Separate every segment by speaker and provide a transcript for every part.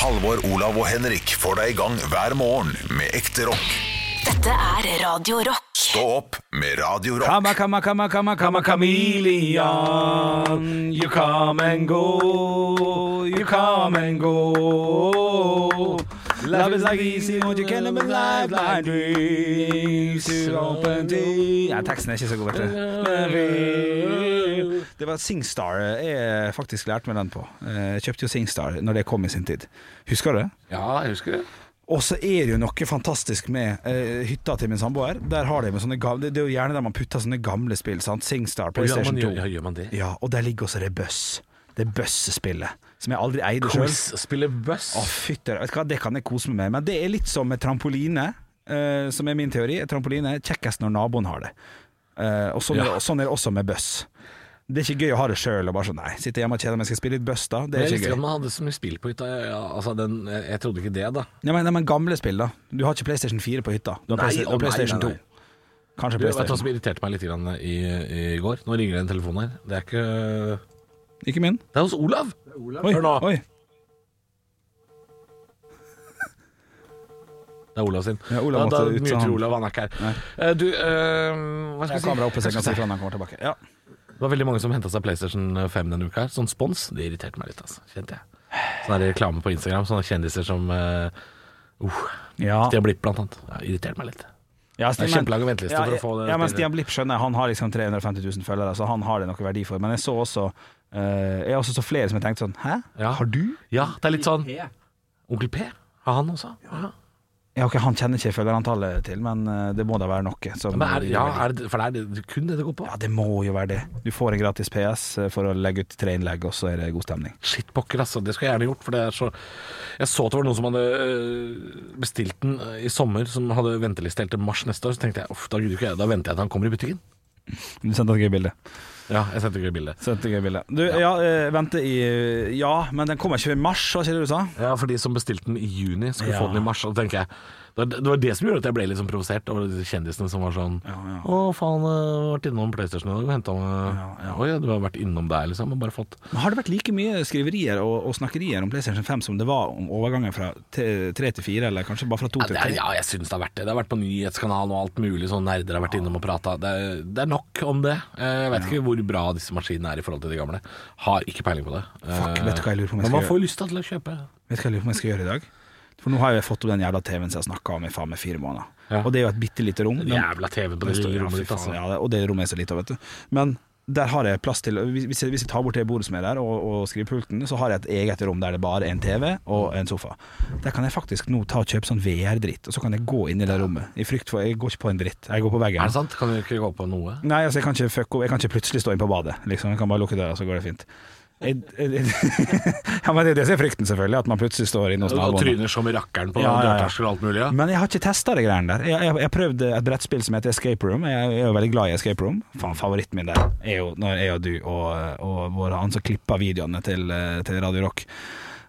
Speaker 1: Halvor, Olav og Henrik får deg i gang hver morgen med ekte rock.
Speaker 2: Dette er Radio Rock.
Speaker 1: Stå opp med Radio Rock.
Speaker 3: Kama, kama, kama, kama, kama, chameleon. You come and go, you come and go. Love is like easy when you can live life like this. You open the- Ja, teksten er ikke så god, vet du. Det var Singstar. eh, Jeg faktisk lærte meg den på. Eh, Jeg kjøpte jo Singstar når det kom i sin tid. Husker du det?
Speaker 4: Ja, jeg husker det.
Speaker 3: Og så er det jo noe fantastisk med eh, hytta til min samboer. Der har de med sånne gamle Det er jo gjerne der man putter sånne gamle spill. Sant? Singstar,
Speaker 4: Gjør
Speaker 3: PlayStation
Speaker 4: man,
Speaker 3: 2.
Speaker 4: gjør, ja, gjør man det?
Speaker 3: Ja, og der ligger også det Buss. Det Buss-spillet. Som jeg aldri eide sjøl.
Speaker 4: Quiz, spille buss.
Speaker 3: Å, fytter. Vet du hva, det kan jeg kose meg med. Men det er litt som med trampoline, eh, som er min teori. Trampoline er kjekkest når naboen har det. Eh, og sånn, er,
Speaker 4: Ja.
Speaker 3: det- sånn er det også med buss. Det er ikke gøy å ha det sjøl og bare sånn Nei, sitte hjemme og kjede meg, skal jeg spille litt buss, da? Det er
Speaker 4: Men jeg
Speaker 3: ikke
Speaker 4: visste
Speaker 3: gøy.
Speaker 4: ikke at man hadde så mye spill på hytta. Jeg, ja, altså den, jeg, jeg trodde ikke det, da.
Speaker 3: Nei, men, nei, men gamle spill, da. Du har ikke PlayStation 4 på hytta. Du har
Speaker 4: Nei,
Speaker 3: Playsta-
Speaker 4: å, nei,
Speaker 3: og PlayStation
Speaker 4: nei, nei.
Speaker 3: 2. Kanskje
Speaker 4: Du, vet du hva
Speaker 3: PlayStation.
Speaker 4: som irriterte meg litt grann i, i går? Nå ringer det en telefon her. Det er ikke Det
Speaker 3: Ikke min.
Speaker 4: er hos Olav!
Speaker 3: Oi,
Speaker 4: Hør nå.
Speaker 3: oi.
Speaker 4: Det er Olav sin.
Speaker 3: Ja, Olav
Speaker 4: da,
Speaker 3: måtte
Speaker 4: da
Speaker 3: ut, så
Speaker 4: muter
Speaker 3: han-
Speaker 4: Olav, han er ikke her. Eh, du, eh, hva
Speaker 3: Jeg har
Speaker 4: skal
Speaker 3: kamera
Speaker 4: jeg
Speaker 3: oppe
Speaker 4: si?
Speaker 3: så jeg kan si fra når han kommer tilbake. Ja.
Speaker 4: Det var veldig mange som henta seg PlayStation 5 denne uka. her Sånn spons, det irriterte meg litt, altså. Kjente jeg. Sånn er det reklame på Instagram. Sånne kjendiser som eh, uh,
Speaker 3: Ja.
Speaker 4: Stian Blipp, blant annet. Ja, irriterte meg litt.
Speaker 3: Ja,
Speaker 4: Det er kjempelang venteliste
Speaker 3: ja,
Speaker 4: for å få det
Speaker 3: Ja, men
Speaker 4: spillet.
Speaker 3: Stian Blipp skjønner jeg, han har liksom 350 000 følgere, så han har det noe verdi for. Men jeg så også eh, Jeg også så flere som jeg tenkte sånn Hæ?
Speaker 4: Ja.
Speaker 3: Har du?
Speaker 4: Ja, det er litt sånn Onkel P? Har han også? Ja.
Speaker 3: Ja, ok, Han kjenner ikke følgerantallet til, men eh, det må da være noe. som-
Speaker 4: Men er, ja, er det, for det er det kun det det går på?
Speaker 3: ja, det må jo være det. Du får en gratis PS eh, for å legge ut tre innlegg, og så er det god stemning.
Speaker 4: Shit, pokker, altså. Det skulle jeg gjerne gjort. For det er så Jeg så at det var noen som hadde øh, bestilt den øh, i sommer, som hadde venteliste helt til mars neste år. Så tenkte jeg uff, da gidder ikke jeg. Da venter jeg til han kommer i butikken.
Speaker 3: Du sendte et gøy bilde.
Speaker 4: Ja, jeg sendte ikke bildet.
Speaker 3: Sendte et gøy bilde. Du, ja, eh, vente i Ja, men den kommer ikke i mars, var ikke det du sa?
Speaker 4: Ja, for de som bestilte den i juni, skulle
Speaker 3: Ja.
Speaker 4: få den i mars. Og da tenker jeg det var- det var det som gjorde at jeg ble litt sånn provosert over de kjendisene som var sånn Å, faen, jeg har vært innom PlayStation i dag og henta meg Å ja, du har vært innom der, liksom. Og bare fått
Speaker 3: Men Har det vært like mye skriverier og, og snakkerier om PlayStation 5 som det var om overgangen fra t- tre til fire, eller kanskje bare fra to
Speaker 4: Ja,
Speaker 3: til
Speaker 4: det er,
Speaker 3: tre?
Speaker 4: ja, jeg syns det har vært det. Det har vært på nyhetskanalen og alt mulig. Sånn nerder har vært innom og prata. Det, er- det er nok om det. Eh, Jeg vet ikke hvor bra disse maskinene er i forhold til de gamle. Har ikke peiling på det.
Speaker 3: Fuck,
Speaker 4: Eh,
Speaker 3: vet du hva jeg lurer på om jeg
Speaker 4: Men
Speaker 3: skal
Speaker 4: man får lyst til å kjøpe.
Speaker 3: Vet du hva jeg lurer på om jeg skal gjøre i dag? For nå har jeg fått opp den jævla TV-en som jeg har snakka om i faen meg fire måneder.
Speaker 4: Ja.
Speaker 3: Og det er jo et bitte lite rom.
Speaker 4: Den jævla TV-en på det
Speaker 3: Den står- ja,
Speaker 4: lille rommet
Speaker 3: fy
Speaker 4: ditt,
Speaker 3: faen,
Speaker 4: altså.
Speaker 3: Ja, det- og det rommet er så lite, vet du. Men der har jeg plass til Hvis hvis jeg, hvis jeg tar bort det bordet som er der, og, og skrivepulten, så har jeg et eget rom der det bare er en TV og en sofa. Der kan jeg faktisk nå ta og kjøpe sånn VR-dritt, og så kan jeg gå inn i det rommet. I frykt for Jeg går ikke på en dritt. Jeg går på veggen.
Speaker 4: Er det sant? Kan du ikke gå på noe?
Speaker 3: Nei, altså jeg kan ikke, fuck, jeg kan ikke plutselig stå inn på badet. Liksom. Jeg kan bare lukke døra, så går det fint. Jeg, jeg, ja, men det, det er frykten, selvfølgelig, at man plutselig står inne hos
Speaker 4: Og
Speaker 3: naboen.
Speaker 4: tryner som rakkeren på
Speaker 3: Ja, ja, ja.
Speaker 4: dørterskel og alt mulig? Ja.
Speaker 3: Men jeg har ikke testa de greiene der. Jeg, jeg, jeg prøvde et brettspill som heter Escape Room. Jeg, jeg er jo veldig glad i Escape Room. Faen, favoritten min der er jo når jeg og du og, og vår, han som klippa videoene til, eh, til Radio Rock.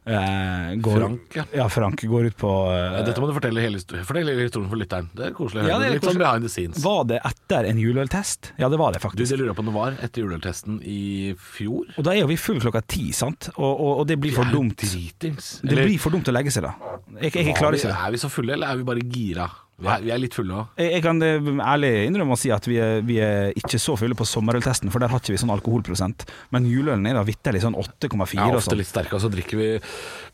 Speaker 3: Eh, går,
Speaker 4: Frank, ja.
Speaker 3: ja. Frank går ut på eh,
Speaker 4: Dette må du fortelle hele, histor- fortell hele historien for lytteren. Det er koselig å høre.
Speaker 3: Ja, det er
Speaker 4: litt
Speaker 3: koselig.
Speaker 4: sånn behind the scenes.
Speaker 3: Var det etter en juleøltest? Ja, det var det,
Speaker 4: Du,
Speaker 3: faktisk.
Speaker 4: det lurer jeg på om det var etter juleøltesten i fjor?
Speaker 3: Og da er jo vi full klokka ti, sant? Og, og, og det blir for
Speaker 4: Det er jo
Speaker 3: dumt.
Speaker 4: Dritings.
Speaker 3: Det
Speaker 4: Eller-
Speaker 3: blir for dumt å legge seg, da. Jeg, jeg, jeg
Speaker 4: Var
Speaker 3: klarer
Speaker 4: vi-
Speaker 3: ikke det.
Speaker 4: Er vi så fulle, eller er vi bare gira? Vi er, vi er litt fulle òg.
Speaker 3: Jeg, jeg kan eh, ærlig innrømme å si at vi er, vi er ikke så fulle på sommerøltesten, for der har ikke vi sånn alkoholprosent. Men juleølen er da vitterlig sånn 8,4
Speaker 4: Vi er
Speaker 3: og
Speaker 4: ofte
Speaker 3: sånn.
Speaker 4: litt sterke, og så drikker vi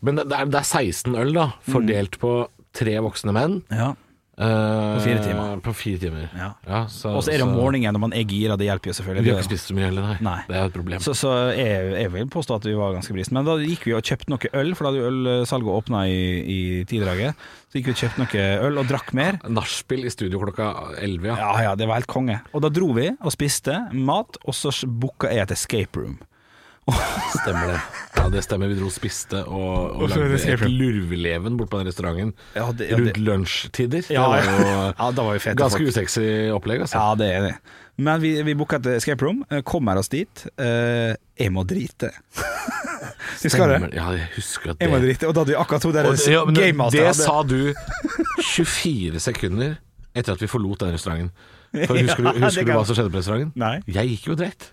Speaker 4: Men det det er, det er 16 øl, da. Fordelt på tre voksne menn.
Speaker 3: Ja.
Speaker 4: eh,
Speaker 3: På fire timer.
Speaker 4: På fire timer.
Speaker 3: Ja.
Speaker 4: så,
Speaker 3: Og så er det om
Speaker 4: så-
Speaker 3: morgenen når man er gira, det hjelper jo
Speaker 4: Vi
Speaker 3: selvfølgelig.
Speaker 4: har ikke spist så mye heller, nei.
Speaker 3: Nei.
Speaker 4: Det er jo et problem.
Speaker 3: Så, så jeg, jeg vil påstå at vi var ganske brist. Men da gikk vi og kjøpte noe øl, for da hadde jo ølsalget åpna i, i tiddraget. Så gikk vi og kjøpte noe øl og drakk mer.
Speaker 4: Nachspiel i studio klokka 11, ja.
Speaker 3: Ja, ja, det var helt konge. Og da dro vi og spiste mat, og så booka jeg et escape room.
Speaker 4: Stemmer det. Ja, det stemmer. Vi dro og spiste og, og
Speaker 3: Og så er
Speaker 4: lagde
Speaker 3: det
Speaker 4: et
Speaker 3: escape room.
Speaker 4: lurveleven bort på den restauranten
Speaker 3: Ja, det- ja,
Speaker 4: rundt
Speaker 3: det-
Speaker 4: lunsjtider.
Speaker 3: Ja,
Speaker 4: det var jo
Speaker 3: ja, da var vi fete
Speaker 4: ganske
Speaker 3: folk.
Speaker 4: usexy opplegg, altså.
Speaker 3: Ja, det er det. Men vi, vi booka et escape room, eh, kommer oss dit. Eh, jeg må drite. Husker du?
Speaker 4: Stemmer. Ja, jeg husker at det
Speaker 3: Jeg må drite. Og da hadde vi akkurat to der
Speaker 4: Og det, ja, men det-
Speaker 3: gamemaster
Speaker 4: det
Speaker 3: hadde.
Speaker 4: sa du 24 sekunder etter at vi forlot den restauranten. For husker du,
Speaker 3: Ja, det
Speaker 4: husker du
Speaker 3: kan-
Speaker 4: hva som skjedde på restauranten?
Speaker 3: Nei.
Speaker 4: Jeg gikk jo og dreit.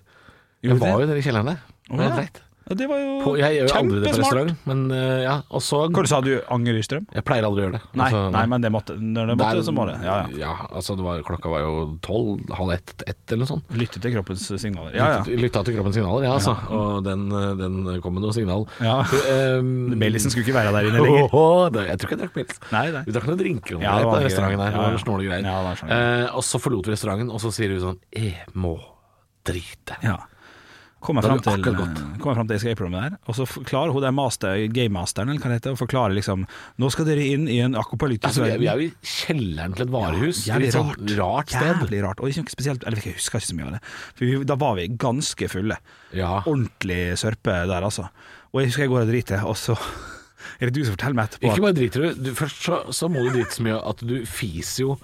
Speaker 3: Gjorde
Speaker 4: Jeg
Speaker 3: du
Speaker 4: var
Speaker 3: det?
Speaker 4: jo nede i kjelleren der. Og
Speaker 3: Å,
Speaker 4: jeg
Speaker 3: ja.
Speaker 4: dreit.
Speaker 3: Ja, Det var jo
Speaker 4: På, jeg gjør jo aldri det på
Speaker 3: kjempesmart.
Speaker 4: restaurant, men eh, ja. Og så
Speaker 3: Hva sa du? Anger i strøm?
Speaker 4: Jeg pleier aldri å gjøre det.
Speaker 3: Nei,
Speaker 4: Altså,
Speaker 3: nei, men det måtte, når det måtte,
Speaker 4: der-
Speaker 3: så må det. Ja, ja.
Speaker 4: ja, altså det var, klokka var jo tolv, halv ett, ett eller noe sånt.
Speaker 3: Lytte til kroppens signaler. Ja, ja.
Speaker 4: Lytta- Lytta til kroppens signaler, ja altså. Og den, eh, den kom med noe signal.
Speaker 3: Ja.
Speaker 4: Um,
Speaker 3: Bellisen skulle ikke være der inne lenger.
Speaker 4: jeg tror ikke jeg drakk pils.
Speaker 3: Nei, nei.
Speaker 4: Vi drakk noen drinker om
Speaker 3: Ja, det
Speaker 4: det
Speaker 3: var
Speaker 4: på
Speaker 3: ikke-
Speaker 4: restauranten der.
Speaker 3: ja,
Speaker 4: Det
Speaker 3: ja.
Speaker 4: var snåle greier.
Speaker 3: Ja, det var snåle.
Speaker 4: Eh, og så forlot vi restauranten, og så sier hun sånn Jeg må drite.
Speaker 3: Ja. Kommer
Speaker 4: Da
Speaker 3: fram
Speaker 4: har du
Speaker 3: til,
Speaker 4: akkurat gått.
Speaker 3: kommer frem til escape rommet der, og så klarer hun der master, gamemasteren, eller hva det heter, å forklare liksom Nå skal dere inn i en akopalytisk
Speaker 4: Altså, vi, er,
Speaker 3: verden.
Speaker 4: vi er jo i kjelleren til et varehus.
Speaker 3: Jævlig
Speaker 4: litt sånn rart sted.
Speaker 3: Jævlig rart. Og ikke noe spesielt Eller jeg husker ikke så mye av det. For vi, da var vi ganske fulle.
Speaker 4: Ja.
Speaker 3: Ordentlig sørpe der, altså. Og jeg husker jeg går og driter, og så er det du som forteller meg etterpå
Speaker 4: Ikke bare driter du, du først så, så må du drite så mye at du fiser jo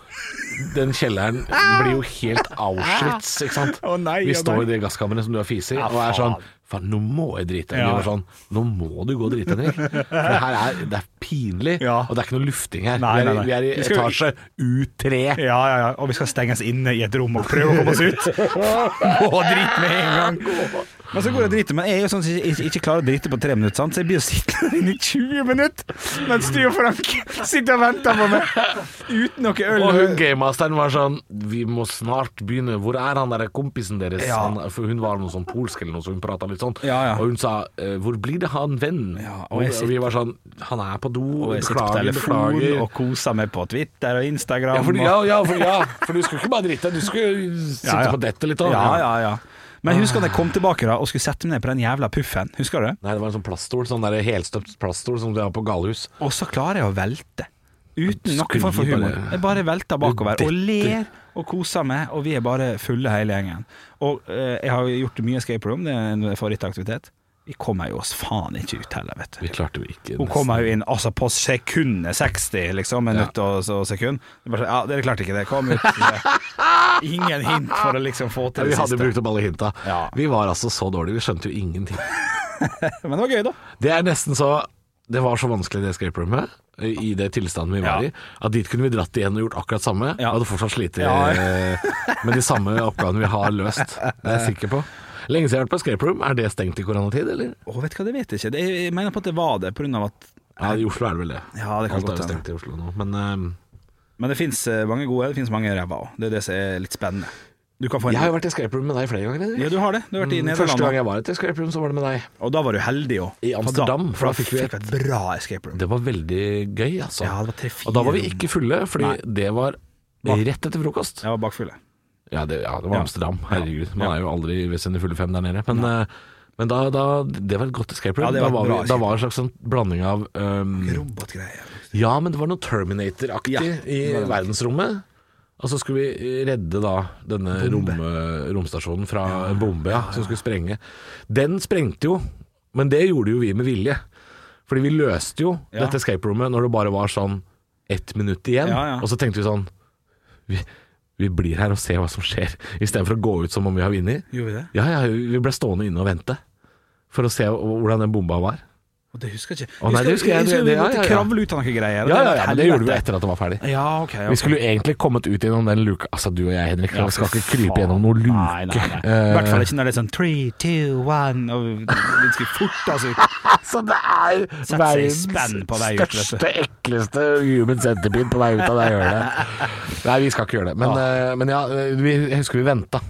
Speaker 4: Den kjelleren blir jo helt Auschwitz, ikke sant?
Speaker 3: Ah. Å nei,
Speaker 4: Vi
Speaker 3: å nei.
Speaker 4: står i det gasskammeret som du har fise i,
Speaker 3: Ja,
Speaker 4: og er sånn
Speaker 3: faen.
Speaker 4: Faen, nå må jeg drite.
Speaker 3: Ja.
Speaker 4: Ja. Var sånn, nå må du gå og drite, Henrik. For det her er, det er pinlig,
Speaker 3: Ja.
Speaker 4: og det er ikke noe lufting her.
Speaker 3: Nei,
Speaker 4: vi, er,
Speaker 3: nei, nei.
Speaker 4: i- vi er i
Speaker 3: Vi skal jo-
Speaker 4: etasje U3.
Speaker 3: Ja, ja, ja. Og vi skal stenges inne i et rom og prøve å komme oss ut. Gå og drite med en gang. Men så går jeg og driter, men jeg er jo sånn som ikke, ikke klarer å drite på tre minutter, sant? så jeg blir jo sittende der inne i 20 minutter mens du og Frank sitter og venter på meg uten noe øl.
Speaker 4: Og hun gamemasteren var sånn Vi må snart begynne. Hvor er han der kompisen deres?
Speaker 3: Ja.
Speaker 4: Han, for hun var noe sånn polsk eller noe, så hun prata litt sånn.
Speaker 3: Ja, ja.
Speaker 4: Og hun sa eh, 'Hvor blir det av en venn?'
Speaker 3: Ja, og
Speaker 4: og,
Speaker 3: jeg sitter-
Speaker 4: vi var sånn 'Han er på do.
Speaker 3: Og jeg sitter på
Speaker 4: Beklager,
Speaker 3: telefon
Speaker 4: beklager'.
Speaker 3: og koser meg på Twitter og Instagram.
Speaker 4: Ja, for,
Speaker 3: og-
Speaker 4: ja, ja, for, ja, for du skulle ikke bare drite, du skulle sitte
Speaker 3: Ja, ja.
Speaker 4: på dette litt Ah. òg.
Speaker 3: Ja, ja, ja. Men husker han jeg kom tilbake da og skulle sette meg ned på den jævla puffen, husker du?
Speaker 4: Nei, det var en sånn plaststol, sånn der helstøpt plaststol som de har på galehus.
Speaker 3: Og så klarer jeg å velte. Uten noen
Speaker 4: Skli
Speaker 3: form for humor.
Speaker 4: bare.
Speaker 3: Jeg bare velter bakover og
Speaker 4: Du
Speaker 3: ler
Speaker 4: detter.
Speaker 3: og koser meg, og vi er bare fulle hele gjengen. Og eh, jeg har jo gjort mye escape room, det er en favorittaktivitet. Vi kommer jo oss faen ikke ut heller, vet du.
Speaker 4: Vi klarte jo ikke
Speaker 3: Hun kommer jo inn altså på sekundet 60, liksom. Minutt og, og sekund. Det er bare, sånn, ja, dere klarte ikke det. Kom ut. Ingen hint for å liksom få
Speaker 4: Ja,
Speaker 3: til
Speaker 4: vi
Speaker 3: det
Speaker 4: hadde
Speaker 3: siste.
Speaker 4: brukt opp alle hinta.
Speaker 3: Ja.
Speaker 4: Vi var altså så dårlige, vi skjønte jo ingenting.
Speaker 3: Men det var gøy, da.
Speaker 4: Det er nesten så Det var så vanskelig det escape roomet i det tilstanden vi var
Speaker 3: Ja.
Speaker 4: i, at dit kunne vi dratt igjen og gjort akkurat samme.
Speaker 3: Ja.
Speaker 4: Og hadde fortsatt slitt
Speaker 3: Ja.
Speaker 4: eh, med de samme oppgavene vi har løst. Det er jeg sikker på. Lenge siden jeg har vært på escape room. Er det stengt i koronatid, eller?
Speaker 3: Å, vet du hva, det vet jeg ikke. Det, jeg mener på at det var det, på grunn av at
Speaker 4: Ja, I Oslo er det vel det.
Speaker 3: Ja, det kan godt
Speaker 4: Alt er jo
Speaker 3: hende.
Speaker 4: stengt i Oslo nå. Men eh,
Speaker 3: Men det fins mange gode, det fins mange ræva òg. Det er det som er litt spennende. Du kan få en
Speaker 4: jeg har jo vært i escape room med deg flere ganger. Henrik.
Speaker 3: Ja, du har det. Du har vært i
Speaker 4: Mm, Første gang
Speaker 3: Nederland,
Speaker 4: jeg var i et escape room, så var det med deg.
Speaker 3: og da var du heldig òg.
Speaker 4: I Amsterdam,
Speaker 3: For da fikk vi et bra escape room.
Speaker 4: Det var veldig gøy, altså.
Speaker 3: Ja, det var tre-fire
Speaker 4: og da var vi ikke fulle, fordi det var
Speaker 3: Hva?
Speaker 4: rett etter frokost.
Speaker 3: Jeg var bakfulle.
Speaker 4: Ja, det, ja, det var
Speaker 3: Ja.
Speaker 4: Amsterdam. Herregud. Man
Speaker 3: Ja.
Speaker 4: er jo aldri ved sine fulle fem der nede. Men, eh, men da, da Det var et godt escape room.
Speaker 3: Ja, det
Speaker 4: da,
Speaker 3: var
Speaker 4: var
Speaker 3: et bra
Speaker 4: vi, da var det en slags sånn blanding av um,
Speaker 3: Robotgreier.
Speaker 4: Ja, men det var noe Terminator-aktig
Speaker 3: Ja,
Speaker 4: i
Speaker 3: det var det.
Speaker 4: verdensrommet. Og så skulle vi redde da denne rom, romstasjonen fra en bombe ja, som skulle sprenge. Den sprengte jo, men det gjorde jo vi med vilje. Fordi vi løste jo
Speaker 3: Ja.
Speaker 4: dette escape rommet når det bare var sånn ett minutt igjen.
Speaker 3: Ja, ja.
Speaker 4: Og så tenkte vi sånn vi, vi blir her og ser hva som skjer, istedenfor å gå ut som om vi har vunnet.
Speaker 3: Gjorde vi det?
Speaker 4: Ja, ja, vi ble stående inne og vente for å se hvordan den bomba var.
Speaker 3: Og det husker jeg ikke.
Speaker 4: Å, nei, det husker jeg.
Speaker 3: husker vi
Speaker 4: Det- ja,
Speaker 3: måtte
Speaker 4: ja, ja.
Speaker 3: kravle ut av noen greier.
Speaker 4: Ja, ja, ja, men det gjorde vi
Speaker 3: Helvete.
Speaker 4: etter at det var ferdig.
Speaker 3: Ja, ok. ok.
Speaker 4: Vi skulle jo egentlig kommet ut gjennom den luka Altså du og jeg, Henrik,
Speaker 3: Ja,
Speaker 4: vi skal
Speaker 3: for
Speaker 4: ikke krype
Speaker 3: faen.
Speaker 4: gjennom noen luke.
Speaker 3: Nei, nei, nei. I hvert fall ikke når det er sånn three, two, one, og vi skulle forte oss ut.
Speaker 4: Altså, det er
Speaker 3: seg i
Speaker 4: verdens
Speaker 3: spenn på vei ut, vet du.
Speaker 4: største, ekleste human centipede på vei ut av det hjørnet. Nei, vi skal ikke gjøre det. Men ja, men ja eh, vi, jeg husker vi venta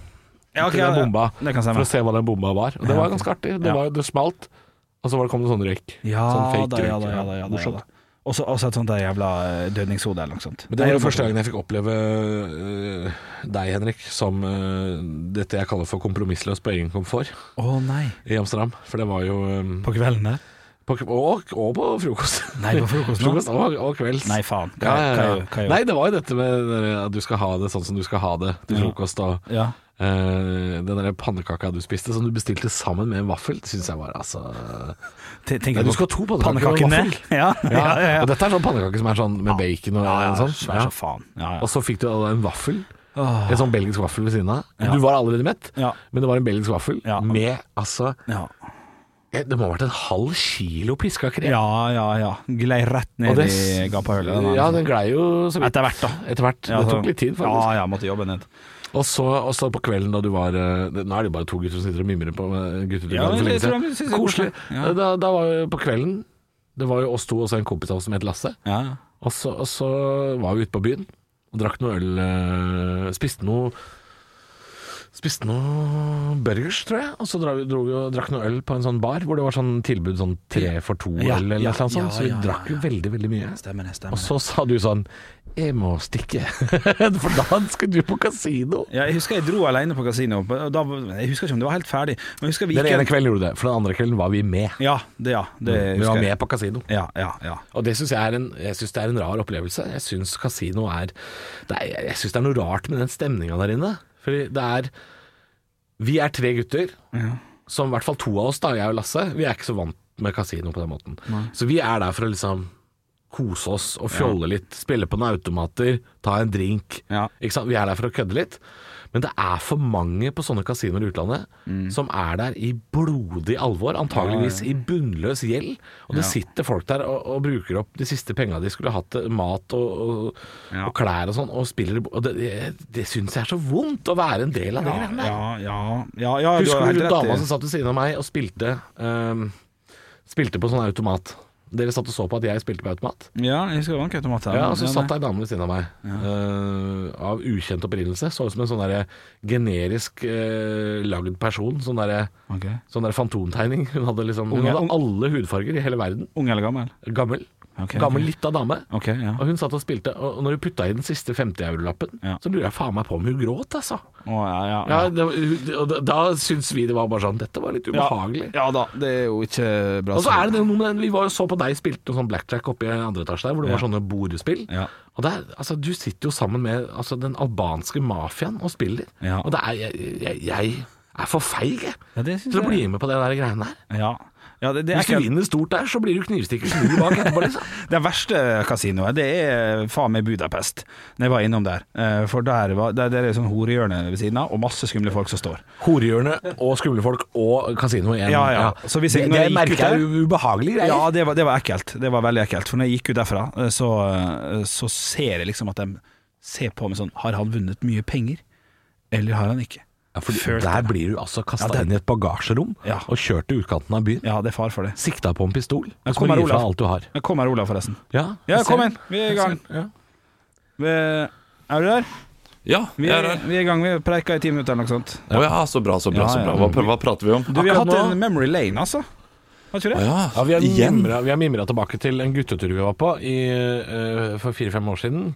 Speaker 3: Ja, ok,
Speaker 4: til den
Speaker 3: ja, ja.
Speaker 4: bomba
Speaker 3: Det kan stemme.
Speaker 4: for å se hva den bomba var. Og det var ganske artig. Det,
Speaker 3: Ja.
Speaker 4: var, det smalt, og så var det kom det sånn røyk.
Speaker 3: Ja
Speaker 4: sånn fake
Speaker 3: da, ja
Speaker 4: røyk.
Speaker 3: da, ja da. Ja, da, ja,
Speaker 4: Morsomt.
Speaker 3: da. Og så et sånt der jævla eh, dødningshode eller noe sånt.
Speaker 4: Men det
Speaker 3: Nei,
Speaker 4: var jo første gangen jeg fikk oppleve øh, deg, Henrik, som øh, dette jeg kaller for kompromissløs på egen komfort
Speaker 3: Å nei.
Speaker 4: i Amsterdam. For det var jo øh,
Speaker 3: På kvelden der?
Speaker 4: På, og, og på frokost.
Speaker 3: Nei, på frokosten
Speaker 4: frokost og, og kvelds.
Speaker 3: Nei, faen. Hva,
Speaker 4: Ja, ja,
Speaker 3: hva,
Speaker 4: ja.
Speaker 3: hva, hva,
Speaker 4: Nei, det var jo dette med det der at du skal ha det sånn som du skal ha det til
Speaker 3: Ja.
Speaker 4: frokost. Og
Speaker 3: ja.
Speaker 4: eh, den der pannekaka du spiste som du bestilte sammen med en vaffel, det syns jeg var altså
Speaker 3: Te- Tenker
Speaker 4: Nei, du skal ha to pannekaker og
Speaker 3: pannekakene.
Speaker 4: en vaffel.
Speaker 3: Ja, ja, ja. ja. Ah,
Speaker 4: Og dette er sånn pannekake som er sånn med bacon og,
Speaker 3: ja,
Speaker 4: sånn.
Speaker 3: svær
Speaker 4: Ja.
Speaker 3: som faen. Ja, ja.
Speaker 4: Og så fikk du da en vaffel.
Speaker 3: Åh.
Speaker 4: En sånn belgisk vaffel ved siden av.
Speaker 3: Ja.
Speaker 4: Du var allerede mett,
Speaker 3: Ja.
Speaker 4: men det var en belgisk vaffel
Speaker 3: Ja.
Speaker 4: med altså
Speaker 3: Ja.
Speaker 4: Eh, Det må ha vært en halv kilo piska krem.
Speaker 3: Ja, ja, ja. Glei rett ned
Speaker 4: Og det-
Speaker 3: i gapahullet. den her.
Speaker 4: Ja, den glei jo så vidt.
Speaker 3: Etter hvert, da.
Speaker 4: Etter hvert.
Speaker 3: Ja,
Speaker 4: det
Speaker 3: så-
Speaker 4: tok litt tid, faktisk.
Speaker 3: Ja, ja, måtte jobbe ned.
Speaker 4: Og, så, og så på kvelden da du var eh, det- Nå er det jo bare to gutter som sitter og mimrer på med guttetur.
Speaker 3: Ja,
Speaker 4: for
Speaker 3: men
Speaker 4: lenge
Speaker 3: jeg tror
Speaker 4: siden.
Speaker 3: de synes det er
Speaker 4: Koselig.
Speaker 3: koselig. Ja.
Speaker 4: Da, da var jo på kvelden Det var jo oss to og så en kompis av oss som het Lasse.
Speaker 3: Ja, ja.
Speaker 4: Og så, og så var vi ute på byen og drakk noe øl. eh, Spiste noe Spiste noe burgers, tror jeg. Og så dra- dro vi og drakk noe øl på en sånn bar hvor det var sånn tilbud sånn tre for to-øl
Speaker 3: Ja,
Speaker 4: eller
Speaker 3: ja,
Speaker 4: noe sånt.
Speaker 3: ja,
Speaker 4: så vi
Speaker 3: ja,
Speaker 4: drakk jo
Speaker 3: ja,
Speaker 4: veldig, veldig mye.
Speaker 3: Stemmer det, stemmer
Speaker 4: Og
Speaker 3: det.
Speaker 4: så sa du sånn Jeg må stikke, for da skal du på kasino.
Speaker 3: Ja, jeg husker jeg dro alene på kasino. på- og Da, jeg husker ikke om det var helt ferdig. Men jeg husker vi
Speaker 4: Den
Speaker 3: gikk
Speaker 4: ene
Speaker 3: en-
Speaker 4: kvelden gjorde du det, for den andre kvelden var vi med.
Speaker 3: Ja, det, ja, det
Speaker 4: vi Mm, var
Speaker 3: husker jeg.
Speaker 4: med på kasino.
Speaker 3: Ja, ja, ja.
Speaker 4: Og det syns jeg, er en- jeg synes det er en rar opplevelse. Jeg syns kasino er det er, Jeg syns det er noe rart med den stemninga der inne. Fordi det er Vi er tre gutter, som i hvert fall to av oss, da, jeg og Lasse, vi er ikke så vant med kasino på den måten. Så vi er der for å liksom kose oss og fjolle litt, spille på noen automater, ta en drink.
Speaker 3: Ja.
Speaker 4: Ikke sant? Vi er der for å kødde litt. Men det er for mange på sånne kasinoer i utlandet
Speaker 3: Mm.
Speaker 4: som er der i blodig alvor, antageligvis i bunnløs gjeld. Og
Speaker 3: Ja.
Speaker 4: det sitter folk der og, og bruker opp de siste penga de skulle hatt til mat og, og,
Speaker 3: Ja.
Speaker 4: og klær og sånn, og spiller i bo- og Det, det, det syns jeg er så vondt å være en del av det.
Speaker 3: Ja,
Speaker 4: greiene der.
Speaker 3: ja, ja, ja, ja du har
Speaker 4: Husker
Speaker 3: helt
Speaker 4: du hun dama
Speaker 3: rett.
Speaker 4: som
Speaker 3: i-
Speaker 4: satt ved siden av meg og spilte ehm, Spilte på sånn automat? Dere satt og så på at jeg spilte på automat?
Speaker 3: Ja, jeg husker det var en automat her.
Speaker 4: Ja, og så
Speaker 3: nei.
Speaker 4: satt det ei dame ved siden av meg. eh, av ukjent opprinnelse. Så ut som en sånn derre generisk eh, lagd person. Sånn derre
Speaker 3: Ok.
Speaker 4: sånn der fantomtegning. Hun hadde liksom Hun
Speaker 3: Unge-
Speaker 4: hadde
Speaker 3: ung-
Speaker 4: alle hudfarger i hele verden.
Speaker 3: Ung eller gammel?
Speaker 4: Gammel.
Speaker 3: Ok,
Speaker 4: gammel
Speaker 3: ok.
Speaker 4: lita dame.
Speaker 3: Ok, ja.
Speaker 4: Og hun satt og spilte, og og når hun putta i den siste 50-eurolappen,
Speaker 3: Ja.
Speaker 4: så lurer jeg faen meg på om hun gråt, altså.
Speaker 3: Å, ja, ja,
Speaker 4: Ja,
Speaker 3: ja.
Speaker 4: det, var- hun- og da, da syns vi det var bare sånn Dette var litt ubehagelig.
Speaker 3: Ja, ja da, det er jo ikke bra.
Speaker 4: Og så er det det noe med den, Vi var jo så på deg spilte noe sånn blackjack oppe i andre etasje der, hvor det var
Speaker 3: Ja.
Speaker 4: sånne bordespill.
Speaker 3: Ja.
Speaker 4: Og der, altså, Du sitter jo sammen med altså, den albanske mafiaen og spiller.
Speaker 3: Ja.
Speaker 4: Og det er, jeg, jeg, jeg er for feig jeg,
Speaker 3: Ja, det synes
Speaker 4: til
Speaker 3: jeg.
Speaker 4: å bli med på det der greiene der.
Speaker 3: Ja, ja det, det, er
Speaker 4: Hvis du
Speaker 3: ikke,
Speaker 4: vinner stort der, så blir du knivstikker snur bak etterpå. Liksom.
Speaker 3: det verste kasinoet, det er faen meg Budapest, når jeg var innom der. Eh, For der, var, der, der er sånn horehjørne ved siden av, og masse skumle folk som står.
Speaker 4: Horehjørne og skumle folk og kasino igjen.
Speaker 3: Ja, ja. Så hvis jeg-
Speaker 4: det
Speaker 3: når
Speaker 4: det
Speaker 3: jeg gikk ut
Speaker 4: merker
Speaker 3: der-
Speaker 4: jeg er ubehagelige greier.
Speaker 3: Ja, det var, det var ekkelt. Det var veldig ekkelt. For når jeg gikk ut derfra, eh, så, eh, så ser jeg liksom at de ser på meg sånn Har han vunnet mye penger, eller har han ikke?
Speaker 4: Ja, for
Speaker 3: Følte
Speaker 4: der
Speaker 3: det.
Speaker 4: blir du altså kasta
Speaker 3: Ja, det-
Speaker 4: inn i et bagasjerom
Speaker 3: Ja.
Speaker 4: og kjørt til utkanten av byen.
Speaker 3: Ja, det er far for det.
Speaker 4: Sikta på en pistol.
Speaker 3: Ja,
Speaker 4: Og så
Speaker 3: kom
Speaker 4: må
Speaker 3: her,
Speaker 4: du gi fra
Speaker 3: Olav.
Speaker 4: alt du har.
Speaker 3: Jeg kommer Olav, forresten.
Speaker 4: Ja,
Speaker 3: Ja,
Speaker 4: jeg
Speaker 3: kom
Speaker 4: ser.
Speaker 3: inn. Vi er i gang.
Speaker 4: Ja.
Speaker 3: Vi, er du der?
Speaker 5: Ja,
Speaker 3: Vi
Speaker 5: jeg
Speaker 3: er,
Speaker 5: er her.
Speaker 3: vi er i gang. Vi preika i ti minutter eller noe sånt.
Speaker 5: Å ja, så bra, så bra.
Speaker 3: Ja,
Speaker 5: så
Speaker 3: ja.
Speaker 5: bra. Hva, pr- hva prater vi om?
Speaker 3: Du, vi har hatt
Speaker 4: Akkurat nå-
Speaker 3: en memory lane, altså. Har ikke
Speaker 5: Å
Speaker 3: det?
Speaker 5: ja,
Speaker 4: Ja, vi har,
Speaker 5: igjen.
Speaker 4: mimra, vi har mimra tilbake til en guttetur vi var på i, eh, for fire-fem år siden.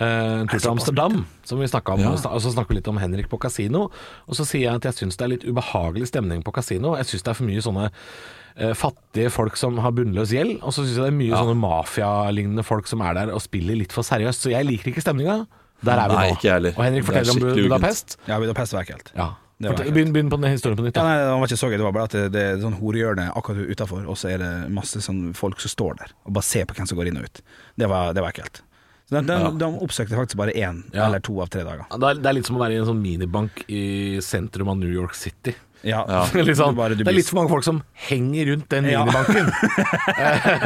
Speaker 4: Eh, en tur til Amsterdam, som vi snakket om.
Speaker 5: Ja.
Speaker 4: Og sna- Og så snakker vi litt om Henrik på kasino. Og så sier jeg at jeg syns det er litt ubehagelig stemning på kasino. Jeg syns det er for mye sånne eh, fattige folk som har bunnløs gjeld. Og så syns jeg det er mye sånne mafialignende folk som er der og spiller litt for seriøst. Så jeg liker ikke stemninga. Der er vi
Speaker 5: Nei,
Speaker 4: nå.
Speaker 5: ikke jeg heller.
Speaker 4: og Henrik
Speaker 5: Det er
Speaker 4: forteller om
Speaker 5: skikkelig
Speaker 4: Bu-
Speaker 5: ugent.
Speaker 4: Budapest.
Speaker 3: Ja, Budapest var ekkelt.
Speaker 4: Ja.
Speaker 3: Det var ekkelt.
Speaker 4: Begynn, begynn på den historien på nytt.
Speaker 3: Ja,
Speaker 4: Da.
Speaker 3: nei, den var ikke så gøy, det var bare at det, det er sånn horehjørne akkurat utafor, og så er det masse sånn folk som står der og bare ser på hvem som går inn og ut. Det var, det var ekkelt. Så den, den, De oppsøkte faktisk bare én
Speaker 4: Ja.
Speaker 3: eller to av tre dager.
Speaker 4: Det er, det er litt som å være i en sånn minibank i sentrum av New York City.
Speaker 3: Ja,
Speaker 4: Det er litt sånn,
Speaker 3: Du bare- du
Speaker 4: det er
Speaker 3: blir-
Speaker 4: litt for mange folk som henger rundt den
Speaker 3: Ja.
Speaker 4: minibanken.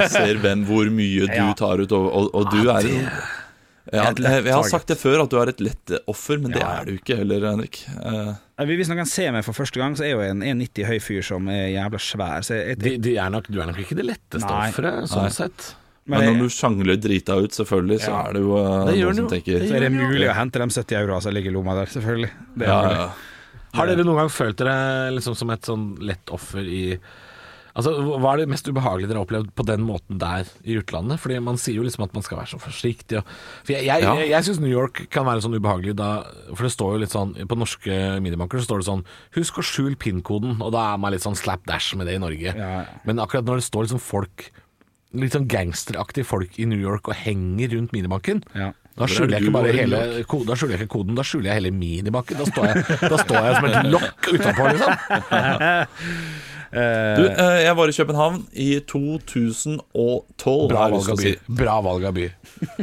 Speaker 5: Ser hvem hvor mye du
Speaker 3: Ja.
Speaker 5: tar ut, og, og, og du er jo ja,
Speaker 3: Et lett
Speaker 5: jeg, jeg har
Speaker 3: target.
Speaker 5: sagt det før, at du er et lett offer, men det
Speaker 3: Ja, ja.
Speaker 5: er du ikke heller, Henrik. Eh,
Speaker 3: Ja, Hvis noen kan se meg for første gang, så er jo jeg en 1,90 høy fyr som er jævla svær. Så jeg, jeg,
Speaker 4: De, de er nok, du er nok ikke det letteste
Speaker 3: Nei.
Speaker 4: offeret, sånn
Speaker 5: Nei.
Speaker 4: sett.
Speaker 5: men
Speaker 3: jeg-
Speaker 5: når du sjangler drita ut, selvfølgelig, så
Speaker 3: Ja.
Speaker 5: er det jo eh,
Speaker 4: Det gjør den
Speaker 5: noen som
Speaker 4: jo.
Speaker 5: tenker
Speaker 4: Det
Speaker 3: så er det
Speaker 4: gjør
Speaker 3: mulig å hente de 70 euroa som altså, ligger i lomma der, selvfølgelig. Det er
Speaker 5: ja,
Speaker 3: mulig.
Speaker 5: ja.
Speaker 4: Har dere noen gang følt dere liksom som et sånn lett offer i Altså, Hva er det mest ubehagelige dere har opplevd på den måten der i utlandet? Fordi Man sier jo liksom at man skal være så forsiktig. Og, for Jeg, jeg,
Speaker 5: Ja.
Speaker 4: jeg, jeg syns New York kan være sånn ubehagelig da For det står jo litt sånn På norske minibanker så står det sånn Husk å skjule PIN-koden, og da er man litt sånn slap dash med det i Norge.
Speaker 3: ja.
Speaker 4: Men akkurat når det står liksom folk Litt sånn gangsteraktige folk i New York og henger rundt minibanken
Speaker 3: Ja.
Speaker 4: da skjuler jeg
Speaker 5: du
Speaker 4: ikke bare
Speaker 5: og
Speaker 4: hele ko- Da skjuler jeg ikke koden, da skjuler jeg hele minibakken. Da står jeg, da står jeg som et lokk utenpå, liksom. Eh,
Speaker 5: Du, eh, jeg var i København i 2012.
Speaker 4: bra,
Speaker 5: har jeg lyst
Speaker 4: valg
Speaker 5: til å
Speaker 4: av by.
Speaker 5: si.
Speaker 4: bra valg av by.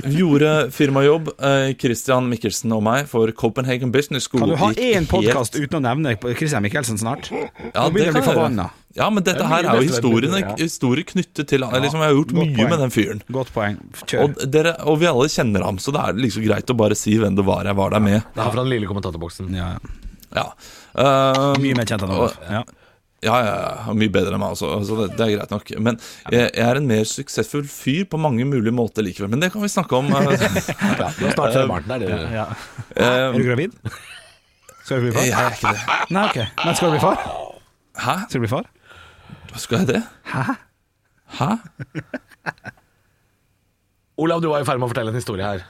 Speaker 5: Vi gjorde firmajobb, eh, Christian Mikkelsen og meg, for Copenhagen Business School.
Speaker 3: Kan du ha
Speaker 5: Gikk
Speaker 3: én
Speaker 5: helt-
Speaker 3: podkast uten å nevne Christian Michelsen snart? Nå begynner jeg å bli
Speaker 5: kan jeg
Speaker 3: forbanna.
Speaker 5: gjøre. Ja, men dette
Speaker 4: er
Speaker 5: her
Speaker 4: mye
Speaker 5: er jo
Speaker 4: bestevenner,
Speaker 5: historiene,
Speaker 4: ja.
Speaker 5: historier knyttet til liksom, Jeg har gjort
Speaker 3: godt
Speaker 5: mye
Speaker 3: poeng.
Speaker 5: med den fyren.
Speaker 3: Godt poeng. Kjør.
Speaker 5: Og, dere, og vi alle kjenner ham, så det er liksom greit å bare si hvem det var jeg var der med.
Speaker 4: Det er fra den lille kommentatorboksen.
Speaker 3: Ja, ja.
Speaker 5: Ja, um,
Speaker 3: Mye mer kjent enn Olav. Ja.
Speaker 5: ja, ja, ja mye bedre enn meg også, så det, det er greit nok. Men jeg, jeg er en mer suksessfull fyr på mange mulige måter likevel. Men det kan vi snakke om. eh,
Speaker 4: Ja, du har snart født barn. Det er det.
Speaker 3: Ja.
Speaker 5: eh,
Speaker 3: Er du gravid? Skal du bli
Speaker 5: jeg
Speaker 3: far?
Speaker 5: er ikke det.
Speaker 3: Nei, ok. Men skal du bli far?
Speaker 5: Hæ?
Speaker 3: Skal du bli far?
Speaker 5: Skal jeg det?
Speaker 3: Hæ?
Speaker 5: Hæ?
Speaker 4: Olav, du var i ferd med å fortelle en historie her.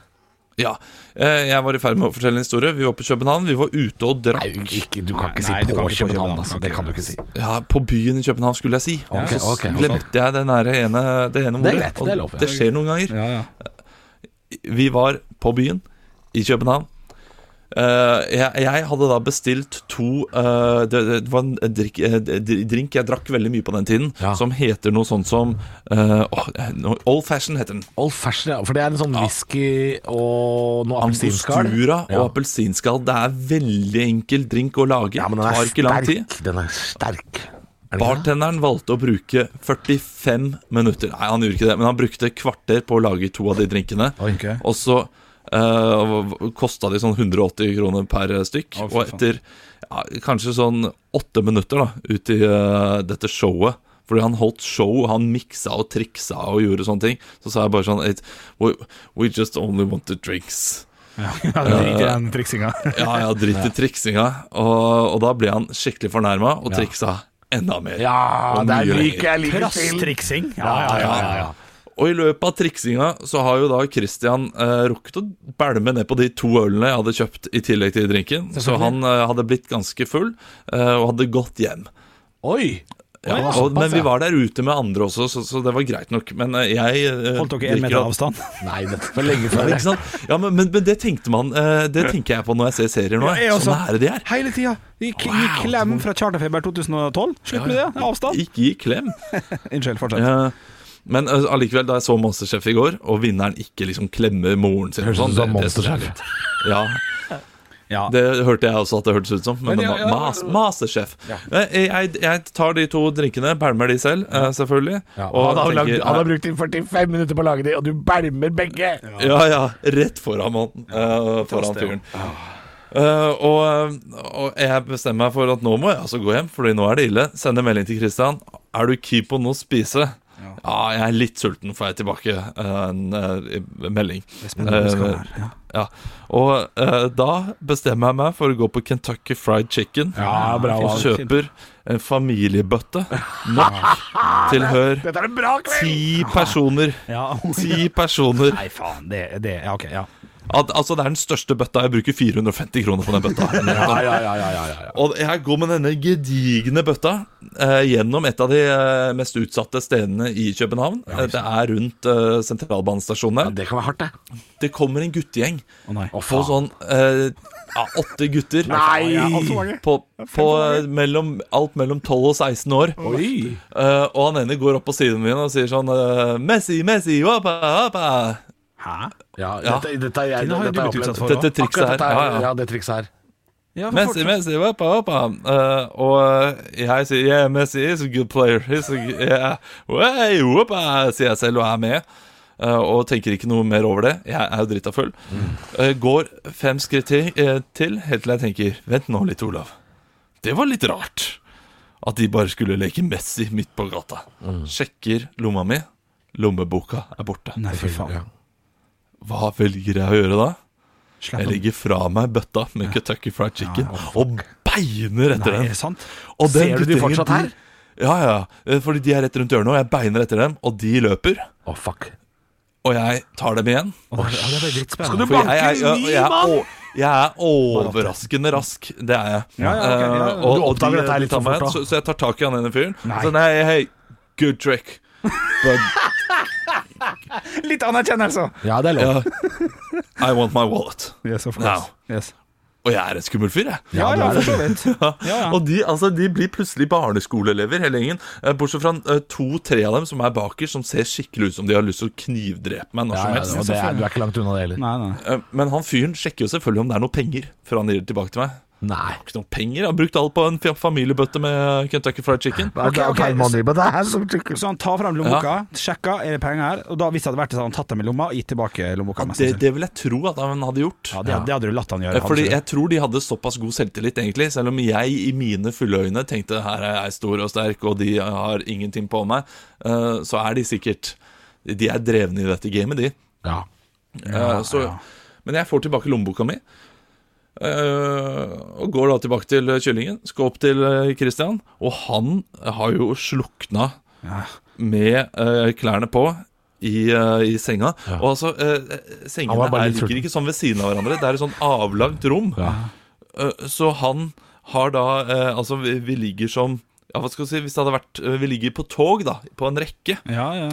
Speaker 5: Ja. eh, Jeg var i ferd med å fortelle en historie. Vi var på København. Vi var ute og
Speaker 4: Nei,
Speaker 5: drakk.
Speaker 4: ikke, du kan ikke
Speaker 3: Nei,
Speaker 4: si
Speaker 3: du
Speaker 4: på
Speaker 3: kan ikke på
Speaker 4: København,
Speaker 3: København,
Speaker 4: altså. Det kan du ikke si.
Speaker 5: Ja, på byen i København, skulle jeg si.
Speaker 4: Ok,
Speaker 5: så
Speaker 4: ok.
Speaker 5: glemte jeg den der ene, det ene ordet.
Speaker 4: Det er greit, det er lov, ja.
Speaker 5: Og det skjer noen ganger.
Speaker 3: Ja, ja.
Speaker 5: Vi var på byen i København. Eh, jeg, jeg hadde da bestilt to eh, det, det var en drikk, eh, dri- drink jeg drakk veldig mye på den tiden,
Speaker 4: Ja.
Speaker 5: som heter noe sånt som eh, åh, no- Old Fashion heter den.
Speaker 4: Old fashion, ja. For det er en sånn whisky og noe appelsinskall.
Speaker 5: Angostura og
Speaker 4: Ja.
Speaker 5: appelsinskall. Det er veldig enkel drink å lage.
Speaker 4: Ja, men den
Speaker 5: Tar
Speaker 4: er
Speaker 5: ikke lang tid.
Speaker 4: sterk. Den er sterk. Er den ikke det?
Speaker 5: Bartenderen valgte å bruke 45 minutter. Nei, han gjorde ikke det, men han brukte et kvarter på å lage to av de drinkene.
Speaker 3: Oi, ok.
Speaker 5: Og så uh, kosta de sånn 180 kroner per eh, stykk.
Speaker 3: Å, fy
Speaker 5: og
Speaker 3: faen.
Speaker 5: etter ja, kanskje sånn åtte minutter da ut i eh, dette showet fordi han holdt show, han miksa og triksa og gjorde sånne ting. Så sa jeg bare sånn "It- We, we just only want the drinks.
Speaker 3: Ja, Drit i den triksinga.
Speaker 5: Ja, ja, dritt i triksinga. Og, og da ble han skikkelig fornærma og triksa enda mer.
Speaker 4: Ja,
Speaker 5: Og
Speaker 4: det er
Speaker 5: mye
Speaker 4: like jeg liker til.
Speaker 3: Trass-triksing. Ja, ja, ja.
Speaker 5: ja, ja. Og i løpet av triksinga så har jo da Christian eh, rukket å bælme ned på de to ølene jeg hadde kjøpt i tillegg til drinken. Så han eh, hadde blitt ganske full eh, og hadde gått hjem.
Speaker 4: Oi!
Speaker 5: Ja,
Speaker 4: Oi,
Speaker 5: og,
Speaker 4: såpass,
Speaker 5: men vi
Speaker 4: ja.
Speaker 5: var der ute med andre også, så, så det var greit nok. Men eh, jeg eh,
Speaker 3: Holdt dere én
Speaker 5: drikker
Speaker 3: meter
Speaker 5: da-
Speaker 3: avstand?
Speaker 4: Nei, dette var lenge
Speaker 5: Ja,
Speaker 4: før.
Speaker 5: ikke sant? Ja, men, men, men det tenkte man eh, Det tenker jeg på når jeg ser serier nå.
Speaker 3: Ja, jeg
Speaker 5: sånn
Speaker 3: også.
Speaker 5: er det de er.
Speaker 3: Hele tida. Gi
Speaker 5: Wow.
Speaker 3: klem fra charterfeber 2012. Slutt med det. Det er Avstand.
Speaker 5: Ikke gi klem.
Speaker 3: Unnskyld, fortsett.
Speaker 5: Eh, men eh, allikevel, da jeg så Monsterchef i går, og vinneren ikke liksom klemmer moren sin og
Speaker 4: Høres ut
Speaker 5: sånn,
Speaker 4: som
Speaker 5: det- det synes jeg er
Speaker 4: Monsterchef.
Speaker 5: litt- Ja,
Speaker 3: Ja.
Speaker 5: Det hørte jeg også at det hørtes ut som.
Speaker 3: Men
Speaker 5: Men,
Speaker 3: ja,
Speaker 5: det
Speaker 3: ja,
Speaker 5: var mas, Masterchef. Jeg, jeg, jeg tar de to drinkene, pælmer de selv, eh, selvfølgelig.
Speaker 4: Ja,
Speaker 5: og
Speaker 4: han, har lagd,
Speaker 5: tenker,
Speaker 4: han har brukt inn 45 minutter på å lage de, og du bælmer begge!
Speaker 5: Ja, ja. Rett foran han. eh, foran fyren. Eh, og, og jeg bestemmer meg for at nå må jeg altså gå hjem, Fordi nå er det ille. Sender melding til Christian. Er du keen på noe å spise? Ja. jeg er litt sulten, får jeg tilbake eh, en eh, melding.
Speaker 3: Det er spennende det skal
Speaker 5: Eh,
Speaker 3: være. Ja.
Speaker 5: ja. Og eh, da bestemmer jeg meg for å gå på Kentucky Fried Chicken.
Speaker 4: Ja, bra
Speaker 5: og
Speaker 4: valg.
Speaker 5: kjøper en familiebøtte nok til hør
Speaker 4: Dette er en bra kveld!
Speaker 5: ti personer.
Speaker 3: Ja.
Speaker 5: Ti personer.
Speaker 3: Nei, faen. Det, det Ja, ok. Ja.
Speaker 5: Al altså, det er den største bøtta. Jeg bruker 450 kroner på den bøtta.
Speaker 4: Ja, ja, ja, ja, ja, ja.
Speaker 5: Og jeg går med denne gedigne bøtta eh, gjennom et av de eh, mest utsatte stedene i København. Eh, det er rundt eh, sentralbanestasjonen
Speaker 4: ja
Speaker 5: der.
Speaker 4: Det kan være hardt, det.
Speaker 5: Det kommer en guttegjeng
Speaker 3: Å nei.
Speaker 4: Å,
Speaker 5: på
Speaker 4: faen.
Speaker 5: sånn eh, ja, åtte gutter.
Speaker 4: Nei!
Speaker 5: På, på eh, mellom, alt mellom 12 og 16 år.
Speaker 4: Oi!
Speaker 5: Eh, og han ene går opp på siden min og sier sånn eh, Messi, Messi, hoppa, hoppa.
Speaker 3: Hæ?
Speaker 4: Ja,
Speaker 5: Ja.
Speaker 4: dette, dette er jeg
Speaker 3: Den har jo
Speaker 4: dette
Speaker 3: du
Speaker 4: er
Speaker 3: blitt utsatt
Speaker 4: opplevd.
Speaker 3: for.
Speaker 5: Dette trikset
Speaker 4: Akkurat
Speaker 5: her.
Speaker 4: dette er,
Speaker 5: Ja,
Speaker 4: ja.
Speaker 5: ja.
Speaker 4: det trikset her.
Speaker 3: Ja, men
Speaker 5: Messi,
Speaker 3: fortsett.
Speaker 5: Messi, hoppa, hoppa. Eh, og eh, jeg sier yeah, Messi is a good player. He's a, yeah. Way, hoppa, sier jeg selv og er med. eh, og tenker ikke noe mer over det. Jeg er jo drita full. Eh, går fem skritt til, eh, til helt til jeg tenker Vent nå litt, Olav. Det var litt rart. At de bare skulle leke Messi midt på gata. Sjekker lomma mi. Lommeboka er borte.
Speaker 3: Nei, fy faen.
Speaker 4: Ja.
Speaker 5: Hva velger jeg å gjøre da?
Speaker 3: Slipp
Speaker 5: Jeg
Speaker 3: den.
Speaker 5: legger fra meg bøtta med Kentucky Fried Chicken og beiner
Speaker 3: Nei, er
Speaker 5: etter den.
Speaker 3: det sant?
Speaker 5: Og
Speaker 4: Ser
Speaker 5: den
Speaker 4: du de
Speaker 5: gutteringen,
Speaker 4: fortsatt her?
Speaker 5: Ja, ja. eh, Fordi de er rett rundt hjørnet, og jeg beiner etter dem, og de løper.
Speaker 4: Å, fuck.
Speaker 5: Og jeg tar dem igjen.
Speaker 3: Å, det, ja, det ble
Speaker 4: Skal du
Speaker 3: drittspennende.
Speaker 5: For jeg, jeg,
Speaker 4: banker
Speaker 5: jeg,
Speaker 4: ni,
Speaker 5: jeg, er
Speaker 4: mann!
Speaker 5: o- jeg er overraskende rask. Det er jeg.
Speaker 3: Ja, ja, ok, ja, ja.
Speaker 5: Eh, og,
Speaker 4: Du
Speaker 5: og
Speaker 4: oppdager
Speaker 5: de-
Speaker 4: dette her
Speaker 5: de
Speaker 4: litt
Speaker 5: tar
Speaker 4: for
Speaker 5: meg
Speaker 4: fort, da.
Speaker 5: igjen, Så, så jeg tar tak i han ene fyren.
Speaker 3: Nei.
Speaker 5: Sånn, hei, hei, good trick. But
Speaker 3: Litt anerkjennelse!
Speaker 4: Ja, det er lov.
Speaker 5: ja, I want my wallet.
Speaker 3: Yes, of
Speaker 5: Now.
Speaker 3: course. Yes.
Speaker 5: Og jeg er en skummel fyr, jeg.
Speaker 3: Ja, ja, for så vidt. Ja, ja.
Speaker 5: Og de, altså, de blir plutselig barneskoleelever, hele gjengen. Eh, Bortsett fra to-tre av dem som er baker, som ser skikkelig ut som de har lyst til å knivdrepe meg
Speaker 4: Ja,
Speaker 5: når som
Speaker 4: ja,
Speaker 5: helst. altså.
Speaker 4: og det er, du er ikke langt unna det heller.
Speaker 3: Nei, nei.
Speaker 5: Eh, Men han fyren sjekker jo selvfølgelig om det er noe penger, før han gir det tilbake til meg.
Speaker 4: Nei.
Speaker 5: Ikke noe penger, jeg har brukt alt på en fam- familiebøtte med Kentucky Fried Chicken.
Speaker 3: Ok,
Speaker 4: Det er
Speaker 3: ok.
Speaker 4: feil money, men det er som trykker.
Speaker 3: Så han tar fram lommeboka, sjekker er det penger her, og da hvis det hadde vært det, så hadde han tatt dem i lomma og gitt tilbake lommeboka. mest
Speaker 5: Det,
Speaker 3: sannsynlig.
Speaker 5: det vil jeg tro at han hadde gjort.
Speaker 3: ja, det, det hadde du latt han gjøre.
Speaker 5: Eh,
Speaker 3: han,
Speaker 5: Fordi
Speaker 3: tror jeg.
Speaker 5: jeg tror de hadde såpass god selvtillit, egentlig. Selv om jeg i mine fulle øyne tenkte her er jeg stor og sterk, og de har ingenting på meg, eh, så er de sikkert De er drevne i dette gamet, de.
Speaker 4: Ja.
Speaker 5: Eh, så, Men jeg får tilbake lommeboka mi. eh, og går da tilbake til eh, kyllingen. Skal opp til eh, Christian. Og han har jo slukna med eh, klærne på i, eh, i senga. Og altså, eh,
Speaker 4: Han
Speaker 5: sengene
Speaker 4: var bare
Speaker 5: er,
Speaker 4: litt
Speaker 5: ligger
Speaker 4: sulten.
Speaker 5: ikke sånn ved siden av hverandre. Det er et sånn avlangt rom. Eh, så han har da eh, Altså, vi, vi ligger som ja, hva skal vi si, hvis det hadde vært, eh, Vi ligger på tog, da, på en rekke
Speaker 3: Ja, ja.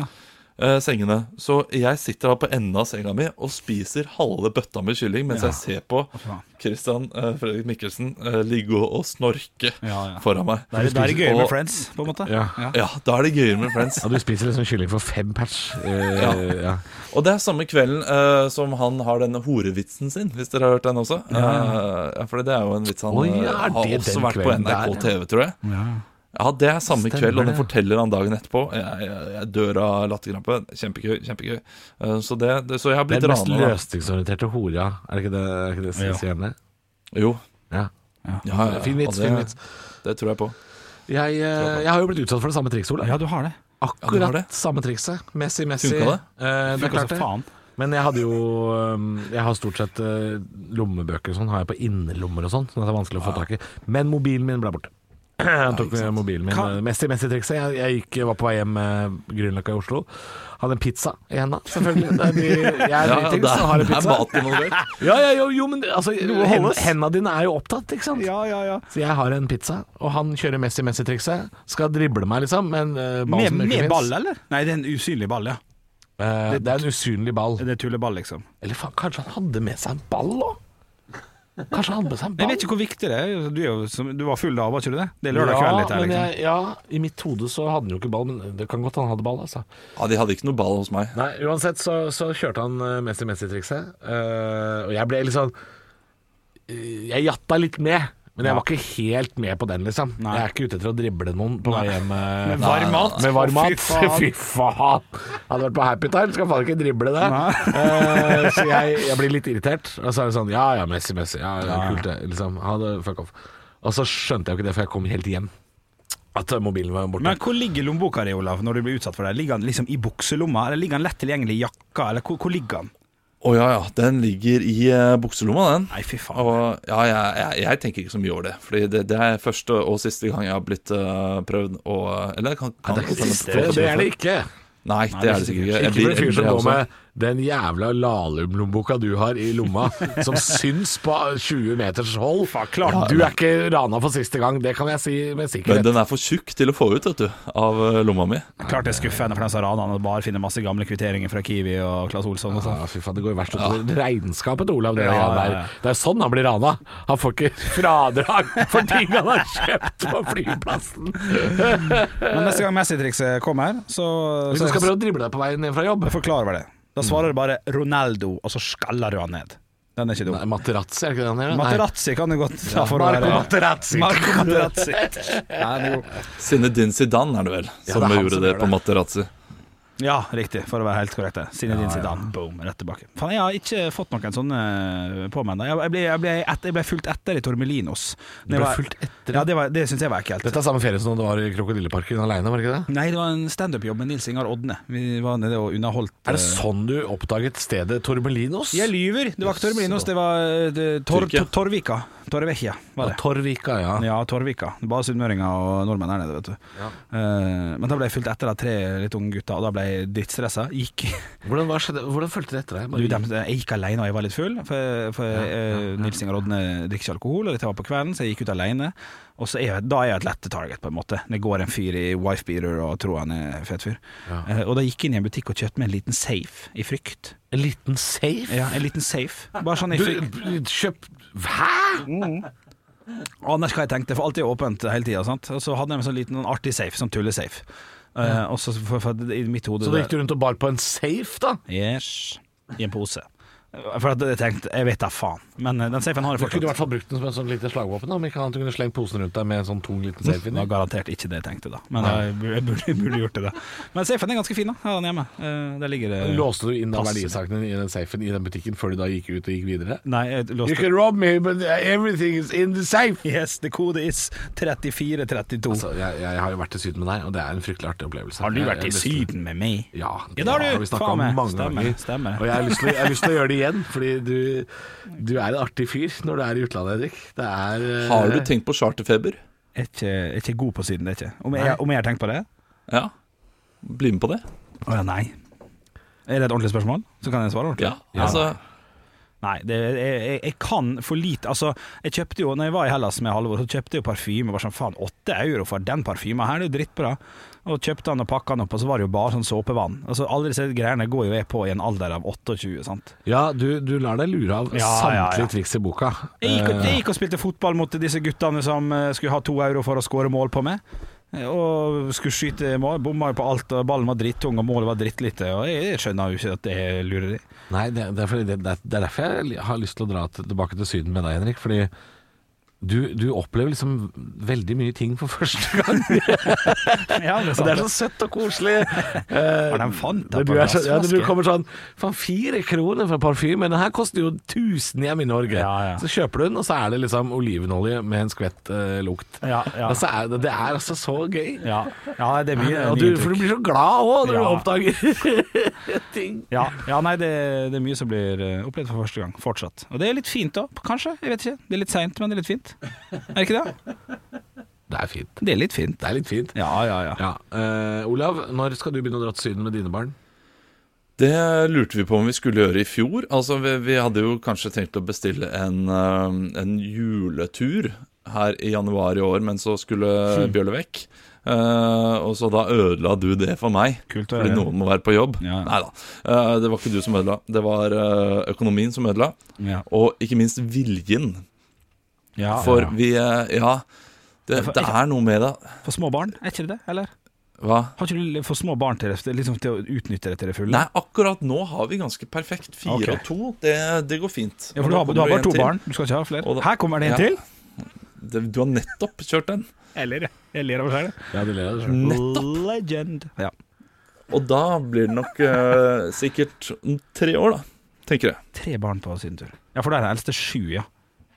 Speaker 5: eh, sengene. Så jeg sitter da på enden av senga mi og spiser halve bøtta med kylling mens jeg ser på
Speaker 3: faen.
Speaker 5: Christian eh, Fredrik Mikkelsen eh, ligge og, og snorke
Speaker 3: Ja, ja.
Speaker 5: foran meg.
Speaker 3: Det er, det er gøy med
Speaker 5: Og-
Speaker 3: friends, på en måte.
Speaker 4: Ja.
Speaker 5: Ja, da er det gøyere med Friends.
Speaker 4: Ja, du spiser liksom kylling for fem patch. Eh,
Speaker 5: Ja.
Speaker 4: ja.
Speaker 5: Og det er samme kvelden eh, som han har denne horevitsen sin, hvis dere har hørt den også. Ja, ja For det er jo en vits han
Speaker 4: Oi,
Speaker 5: eh,
Speaker 4: ja, er
Speaker 5: har
Speaker 4: det
Speaker 5: også
Speaker 4: den
Speaker 5: vært på
Speaker 4: kvelden
Speaker 5: NRK
Speaker 4: der,
Speaker 5: TV, tror jeg.
Speaker 3: Ja.
Speaker 5: Ja, det er samme
Speaker 4: Stemmer
Speaker 5: kveld, og den
Speaker 4: det.
Speaker 5: forteller han dagen etterpå. Jeg, jeg, jeg dør av latterkrampe. Kjempegøy. kjempegøy Eh, Så, det, det, så jeg har
Speaker 4: Det er
Speaker 5: blitt
Speaker 4: den mest
Speaker 5: rana. da.
Speaker 4: løsningsorienterte hora, er det ikke det, er det, ikke det som
Speaker 3: Ja.
Speaker 4: sier henne?
Speaker 5: Jo.
Speaker 4: Ja.
Speaker 5: Ja, ja, ja.
Speaker 4: Fin vits,
Speaker 5: Og det-
Speaker 4: fin vits.
Speaker 5: Det tror jeg på.
Speaker 4: Jeg, eh, jeg har jo blitt utsatt for det samme trikset, Ole.
Speaker 3: ja, du har det.
Speaker 4: Akkurat
Speaker 5: Ja, du har det.
Speaker 4: samme trikset. Messi, Messi.
Speaker 5: Funka det?
Speaker 4: Eh, det er
Speaker 3: Funka
Speaker 4: klart
Speaker 3: som
Speaker 4: det.
Speaker 3: faen.
Speaker 4: Men jeg hadde jo eh, Jeg har stort sett eh, lommebøker og sånn, har jeg på innerlommer og sånn, sånn at det er vanskelig å få tak i. Men mobilen min ble borte. Han tok med mobilen min.
Speaker 3: Kan-
Speaker 4: eh, Messi, Messi-trikset. Jeg, jeg gikk, var på vei hjem eh, Grünerløkka i Oslo. Hadde en pizza i henda, selvfølgelig. Det er mye, jeg er
Speaker 5: Ja, ja,
Speaker 4: dritings
Speaker 5: det
Speaker 4: og har en
Speaker 5: er
Speaker 4: pizza.
Speaker 5: mat involvert.
Speaker 4: Ja, ja, jo, jo, men altså, hen,
Speaker 3: holdes.
Speaker 4: henda dine er jo opptatt, ikke sant?
Speaker 3: Ja, ja, ja.
Speaker 4: Så jeg har en pizza, og han kjører Messi-Messi-trikset. Skal drible meg, liksom, men eh, ball
Speaker 3: Med,
Speaker 4: som ikke
Speaker 3: med
Speaker 4: finnes.
Speaker 3: ball, eller? Nei, det er en usynlig ball, ja.
Speaker 4: Eh, det er en usynlig ball.
Speaker 3: Det er tulleball, liksom.
Speaker 4: Eller faen, kanskje han hadde med seg en ball òg? Kanskje han hadde med seg en
Speaker 3: Jeg
Speaker 4: ball?
Speaker 3: vet ikke hvor viktig det er. Du, er jo, som, du var full da, var ikke du det? Det er lørdag
Speaker 4: ja,
Speaker 3: kveld litt her,
Speaker 4: men
Speaker 3: liksom.
Speaker 4: jeg, ja, i mitt hode så hadde han jo ikke ball, men det kan godt han hadde ball, altså.
Speaker 5: Ja, De hadde ikke noe ball hos meg.
Speaker 4: Nei, uansett så, så kjørte han eh, Messi-Messi-trikset, eh, og jeg ble litt sånn eh, Jeg jatta litt med. Men jeg var ikke helt med på den, liksom.
Speaker 3: Nei.
Speaker 4: Jeg er ikke ute etter å drible noen på vei hjem. eh,
Speaker 3: Med varm mat?
Speaker 4: Med varm mat.
Speaker 3: Fy faen.
Speaker 4: Fy faen. Hadde vært på Happy Time, skal faen ikke drible det.
Speaker 3: Nei.
Speaker 4: Eh, så jeg, jeg blir litt irritert. Og så er det sånn Ja ja, Messi, Messi. Ja, ja, kult det. Liksom. Ha det, fuck off. Og så skjønte jeg jo ikke det, for jeg kom helt hjem. At eh, mobilen var borte.
Speaker 3: Men hvor ligger lommeboka di, Olav, når du blir utsatt for det? Ligger han liksom i bukselomma, eller ligger han lett tilgjengelig i jakka, eller hvor, hvor ligger han?
Speaker 5: Å ja, ja. Den ligger i eh, bukselomma, den.
Speaker 3: Nei, fy faen.
Speaker 5: Og ja, jeg, jeg, jeg tenker ikke så mye over det. Fordi det, det er første og siste gang jeg har blitt eh, prøvd å Eller det kan, kan
Speaker 4: det er ikke
Speaker 5: hende-
Speaker 4: siste, det er det ikke.
Speaker 5: Nei, det er det sikkert ikke. Jeg
Speaker 4: Ikke for en
Speaker 5: blir
Speaker 4: fyr som
Speaker 5: eldre,
Speaker 4: går
Speaker 5: jeg også.
Speaker 4: med den jævla Lahlum-lommeboka du har i lomma, som syns på 20 meters hold.
Speaker 3: klart.
Speaker 4: Du er ikke rana for siste gang, det kan jeg si med
Speaker 5: Men
Speaker 4: sikkerhet.
Speaker 5: den er for tjukk til å få ut, vet du, av eh, lomma mi.
Speaker 3: Klart det er skuffende for den som raner han og bare finner masse gamle kvitteringer fra Kiwi og Claes Olsson og sånn.
Speaker 4: Ja, fy faen, det går jo verst utover regnskapet til Olav. Det,
Speaker 3: Ja, ja,
Speaker 4: der.
Speaker 3: ja.
Speaker 4: det er sånn han blir rana. Han får ikke fradrag for ting han har kjøpt på flyplassen.
Speaker 3: Men neste gang Messi-trikset kommer, så,
Speaker 4: Hvis
Speaker 3: så
Speaker 4: du Eh. skal prøve Mm. å drible deg på veien ned fra jobb
Speaker 3: jeg forklarer vel det. Da svarer du bare 'Ronaldo', og så skaller du han ned. Den er ikke dum.
Speaker 4: Nei, Materazzi, er det ikke det han heter? Nei.
Speaker 3: Materazzi kan du godt ta for å
Speaker 4: Marco
Speaker 3: være
Speaker 4: Materazzi.
Speaker 3: Marco Materazzi. Nei, den er god.
Speaker 5: Zidane Zidane er det vel, som
Speaker 4: det er han
Speaker 5: gjorde
Speaker 4: som
Speaker 5: det
Speaker 4: gjør
Speaker 5: på
Speaker 4: det.
Speaker 5: Materazzi.
Speaker 3: Ja, riktig, for å være helt korrekt. der. Zinedine Zidane, boom, rett tilbake. Faen, jeg har ikke fått noen sånne eh, på meg ennå. Jeg, jeg, ble- jeg, ble et- jeg ble fulgt etter i Tormelinos.
Speaker 4: ble
Speaker 3: Det var-
Speaker 4: fulgt etter?
Speaker 3: Ja, det, var- det syns jeg var ekkelt.
Speaker 4: Dette er samme ferie som da du var i Krokodilleparken aleine, var det ikke det?
Speaker 3: Nei, det var en standup-jobb med Nils Ingar Odne. Vi var nede og underholdt.
Speaker 4: Er det
Speaker 3: eh,
Speaker 4: sånn du oppdaget stedet Tormelinos?
Speaker 3: Jeg lyver. Det var ikke Tormelinos, det var eh, det, Tor,
Speaker 5: Tyrkia.
Speaker 3: Tor, Torvika. Torvekja, var det.
Speaker 4: Torvika, ja.
Speaker 3: Ja, Torvika. Bare sunnmøringer og nordmenn der nede, vet du. Eh, men da ble jeg fulgt etter av tre litt unge gutter, og da ble jeg drittstressa. Gikk
Speaker 4: Hvordan, hva skjedde, hvordan fulgte det etter deg?
Speaker 3: du, dem, jeg gikk alene og jeg var litt full, for, for eh, Nils Inger Odne drikker ikke alkohol, og dette var på kvelden, så jeg gikk ut alene. Og så er jeg, da er jeg et lette target, på en måte. Det går en fyr i wifebeater og tror han er fet fyr. Eh, og da gikk jeg inn i en butikk og kjøpte meg en liten safe, i frykt.
Speaker 4: En liten safe?
Speaker 3: Ja, en liten safe. Bare sånn i
Speaker 4: Du,
Speaker 3: frykt.
Speaker 4: b- kjøp Hæ?!
Speaker 3: Anders hva jeg tenkte, for alt er åpent hele tida, sant. Og så hadde jeg en sånn liten sånn artig safe, sånn tullesafe. Eh, og så for, for, i mitt hode
Speaker 4: Så da gikk du rundt og bar på en safe, da?
Speaker 3: Yes. I en pose. For at jeg tenkte, jeg vet da faen. Men eh, den safen har jeg
Speaker 4: Du kunne i
Speaker 3: fortsatt.
Speaker 4: hvert fall brukt den som en sånn lite slagvåpen, da, om ikke annet du kunne slengt posen rundt deg med en sånn tung liten safe
Speaker 3: Det
Speaker 4: inni.
Speaker 3: var garantert ikke det jeg tenkte, da. Men jeg burde, jeg burde, jeg burde gjort det. da Men safen er ganske fin, da. Jeg har den hjemme. Eh, Der ligger det
Speaker 4: Låste du inn da
Speaker 3: Pass.
Speaker 4: verdisakene i den safen i den butikken før du da gikk ut og gikk videre?
Speaker 3: Nei, eh, jeg
Speaker 4: You
Speaker 3: låste
Speaker 4: can rob me, but everything is in the safe!
Speaker 3: Yes, the code is 3432.
Speaker 4: Altså, jeg, jeg har jo vært i Syden med deg, og det er en fryktelig artig opplevelse.
Speaker 3: har du
Speaker 4: Jeg-
Speaker 3: vært i
Speaker 4: jeg har lyst til-
Speaker 3: Syden med meg?
Speaker 4: Ja,
Speaker 3: Ja, det har du.
Speaker 4: vi snakket
Speaker 3: Faen
Speaker 4: om
Speaker 3: meg.
Speaker 4: mange
Speaker 3: Stemmer,
Speaker 4: ganger.
Speaker 3: stemmer.
Speaker 4: Og jeg har, lyst til, jeg har lyst til å gjøre det igjen, fordi du, du er en artig fyr når du er i utlandet, Henrik. Det er eh,
Speaker 5: Har du tenkt på charterfeber?
Speaker 3: Jeg er ikke, jeg er ikke god på Syden, det er ikke. Om jeg, om jeg har tenkt på det?
Speaker 5: Ja. Bli med på det.
Speaker 3: Å ja, nei. Er det et ordentlig spørsmål? Så kan jeg svare ordentlig.
Speaker 5: Ja, altså
Speaker 3: Nei, det, jeg, jeg, jeg kan for lite Altså, jeg kjøpte jo Når jeg var i Hellas med Halvor, så kjøpte jeg jo parfyme. Bare sånn faen, åtte euro for den parfyma her, det er jo drittbra. Og kjøpte han og pakka han opp, og så var det jo bare sånn såpevann. Altså, alle disse greiene går jo jeg på i en alder av 28, sant.
Speaker 4: Ja, du, du lar deg lure av
Speaker 3: Ja, ja, ja.
Speaker 4: samtlige triks i boka. Eh,
Speaker 3: Jeg gikk, og, jeg gikk og spilte fotball mot disse guttene som eh, skulle ha to euro for å skåre mål på meg. Eh, Og skulle skyte mål. Bomma jo på alt, og ballen var drittung, og målet var drittlite. Og jeg, jeg skjønner jo ikke at det er lureri.
Speaker 4: Nei, det, det, er fordi det, det er- det er derfor jeg har lyst til å dra til- tilbake til Syden med deg, Henrik. Fordi du, du opplever liksom veldig mye ting for første gang.
Speaker 3: Ja, det er
Speaker 4: Og
Speaker 3: sant.
Speaker 4: det er så søtt og koselig. Eh,
Speaker 3: Har de fant
Speaker 4: når
Speaker 3: det
Speaker 4: du,
Speaker 3: på
Speaker 4: er så, ja, når du
Speaker 3: glassflaske?
Speaker 4: kommer sånn Faen, fire kroner for parfyme. Den her koster jo 1000 hjem i Norge.
Speaker 3: Ja, ja.
Speaker 4: Så kjøper du den, og så er det liksom olivenolje med en skvett eh, lukt.
Speaker 3: Ja, ja.
Speaker 4: Og så er det, det er altså så gøy.
Speaker 3: Ja. ja, det er mye
Speaker 4: og
Speaker 3: nye
Speaker 4: du,
Speaker 3: trykk.
Speaker 4: for du blir så glad òg når du
Speaker 3: Ja.
Speaker 4: oppdager ting.
Speaker 3: Ja, ja nei, det, det er mye som blir eh, opplevd for første gang, fortsatt. Og det er litt fint òg, kanskje. Jeg vet ikke. Det er litt seint, men det er litt fint. Er det ikke det?
Speaker 4: Det er fint.
Speaker 3: Det er litt fint.
Speaker 4: Det er litt fint.
Speaker 3: Ja, ja, ja.
Speaker 4: Ja. eh, Olav, når skal du begynne å dra til Syden med dine barn?
Speaker 5: Det lurte vi på om vi skulle gjøre i fjor. Altså, vi, vi hadde jo kanskje tenkt å bestille en, eh, en juletur her i januar i år, men så
Speaker 3: Hmm.
Speaker 5: skulle Bjølle vekk. Eh, og så da ødela du det for meg,
Speaker 3: Kult å
Speaker 5: fordi
Speaker 3: høre.
Speaker 5: noen må være på jobb.
Speaker 3: Ja.
Speaker 5: Nei da, Eh, det var ikke du som ødela. Det var eh, økonomien som ødela,
Speaker 3: ja.
Speaker 5: og ikke minst viljen.
Speaker 3: ja
Speaker 5: For
Speaker 3: ja.
Speaker 5: vi eh, Ja, det, det er noe med det.
Speaker 3: For små barn, er ikke det det? Eller?
Speaker 5: Hva?
Speaker 3: Har ikke du for små barn til, det, liksom, til å utnytte det til det fulle?
Speaker 5: Nei, akkurat nå har vi ganske perfekt. Fire
Speaker 3: Ok.
Speaker 5: og to, det, det går fint.
Speaker 3: Ja, for du har, du har bare to barn, du skal ikke ha
Speaker 5: Og
Speaker 3: flere.
Speaker 5: da-
Speaker 3: Her kommer det en
Speaker 5: Ja.
Speaker 3: til!
Speaker 5: Det, du har nettopp kjørt den.
Speaker 3: Eller, jeg ler av meg selv.
Speaker 4: Ja, du ler av
Speaker 3: Legend. Ja.
Speaker 5: Og da blir det nok eh, sikkert om tre år, da, tenker jeg.
Speaker 3: Tre barn på sydentur. Ja, for da er den eldste sju, ja.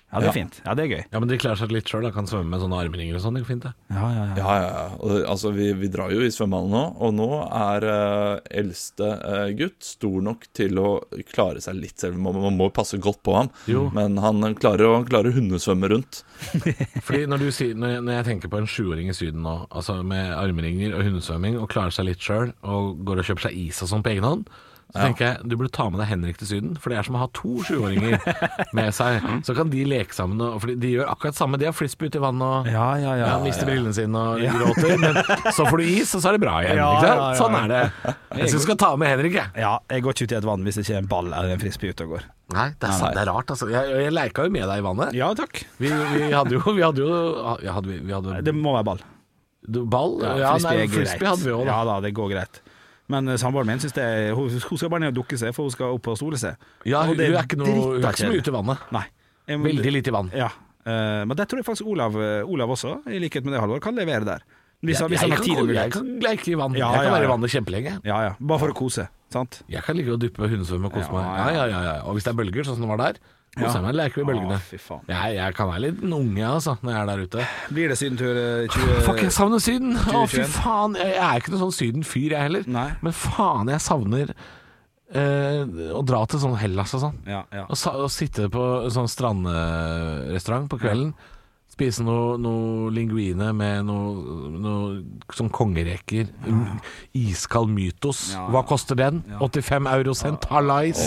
Speaker 3: Ja, det
Speaker 5: Ja.
Speaker 3: er fint. Ja, det er gøy.
Speaker 4: Ja, men de klarer seg litt sjøl. Kan svømme med sånne armringer og sånn. Det går fint, det.
Speaker 3: Ja, ja, ja.
Speaker 5: Ja, ja, ja. Og, altså, vi, vi drar jo i svømmehallen nå, og nå er eh, eldste eh, gutt stor nok til å klare seg litt selv. Man, man må jo passe godt på ham,
Speaker 4: Jo.
Speaker 5: men han klarer å han klarer å hundesvømme rundt.
Speaker 4: Fordi når, du sier, når, jeg, når jeg tenker på en sjuåring i Syden nå, altså med armringer og hundesvømming, og klarer seg litt sjøl, og går og kjøper seg is og sånn på egen hånd, så tenker jeg du burde ta med deg Henrik til Syden, for det er som å ha to sjuåringer med seg. Så kan de leke sammen, og, for de gjør akkurat samme. De har flisby ut i vannet og
Speaker 3: Ja, ja, ja.
Speaker 4: ja, mister brillene sine og gråter, men så får du is, og så er det bra igjen.
Speaker 3: Ja,
Speaker 4: ikke sant?
Speaker 3: ja, ja.
Speaker 4: Sånn er det. Jeg syns du skal ta med Henrik, jeg.
Speaker 3: Ja, jeg går ikke ut i et vann hvis det ikke er en ball eller en frisbee ute og går.
Speaker 4: Nei, det er, sant, det er rart, altså. Jeg, jeg leika jo med deg i vannet.
Speaker 3: Ja takk.
Speaker 4: Vi, vi hadde jo, vi hadde jo ja, hadde vi, vi hadde
Speaker 3: Det må være ball.
Speaker 4: Du, Ball? Ja, nei, frisbee hadde vi òg, da.
Speaker 3: Ja da, det går greit. Men eh, samboeren min synes det er, hun, hun skal bare ned og dukke seg, for hun skal opp og stole seg.
Speaker 4: Ja,
Speaker 3: Og
Speaker 4: hun,
Speaker 3: det
Speaker 4: hun er ikke noe, hun er ikke så mye
Speaker 3: drittakjedelig.
Speaker 4: ute i vannet.
Speaker 3: Nei. Jeg må-
Speaker 4: Veldig lite i vann.
Speaker 3: Ja. Eh, men det tror jeg faktisk Olav, eh, Olav også, i likhet med det Halvor, kan levere der. Hvis, han- hvis
Speaker 4: jeg,
Speaker 3: han har tid
Speaker 4: kan,
Speaker 3: og
Speaker 4: gå- jeg
Speaker 3: mulighet.
Speaker 4: kan leke i vann.
Speaker 3: Ja,
Speaker 4: jeg kan
Speaker 3: ja,
Speaker 4: være i
Speaker 3: ja.
Speaker 4: vannet kjempelenge.
Speaker 3: Ja ja. Bare for å kose, sant?
Speaker 4: Jeg kan ligge og duppe og hundesvømme og kose
Speaker 3: Ja,
Speaker 4: meg. Ja, ja, ja, ja. Og hvis det er bølger, sånn som det var der, koser jeg meg og leker ved bølgene.
Speaker 3: Å, fy faen.
Speaker 4: Jeg, jeg kan være litt en unge, altså, når jeg er der ute.
Speaker 3: Blir det sydentur eh,
Speaker 4: Fuck,
Speaker 3: 20...
Speaker 4: jeg savner Syden! Å, fy
Speaker 3: 2021.
Speaker 4: faen! Jeg jeg er ikke noen sånn Syden-fyr, jeg heller.
Speaker 3: Nei.
Speaker 4: Men faen, jeg savner eh, å dra til sånn Hellas og sånn.
Speaker 3: Ja, ja.
Speaker 4: Å sa- å sitte på sånn strandrestaurant på kvelden, spise noe, noe linguine med noe, noe sånn kongereker. Iskald mytos. Hva koster den? 85 eurosent? Hallais!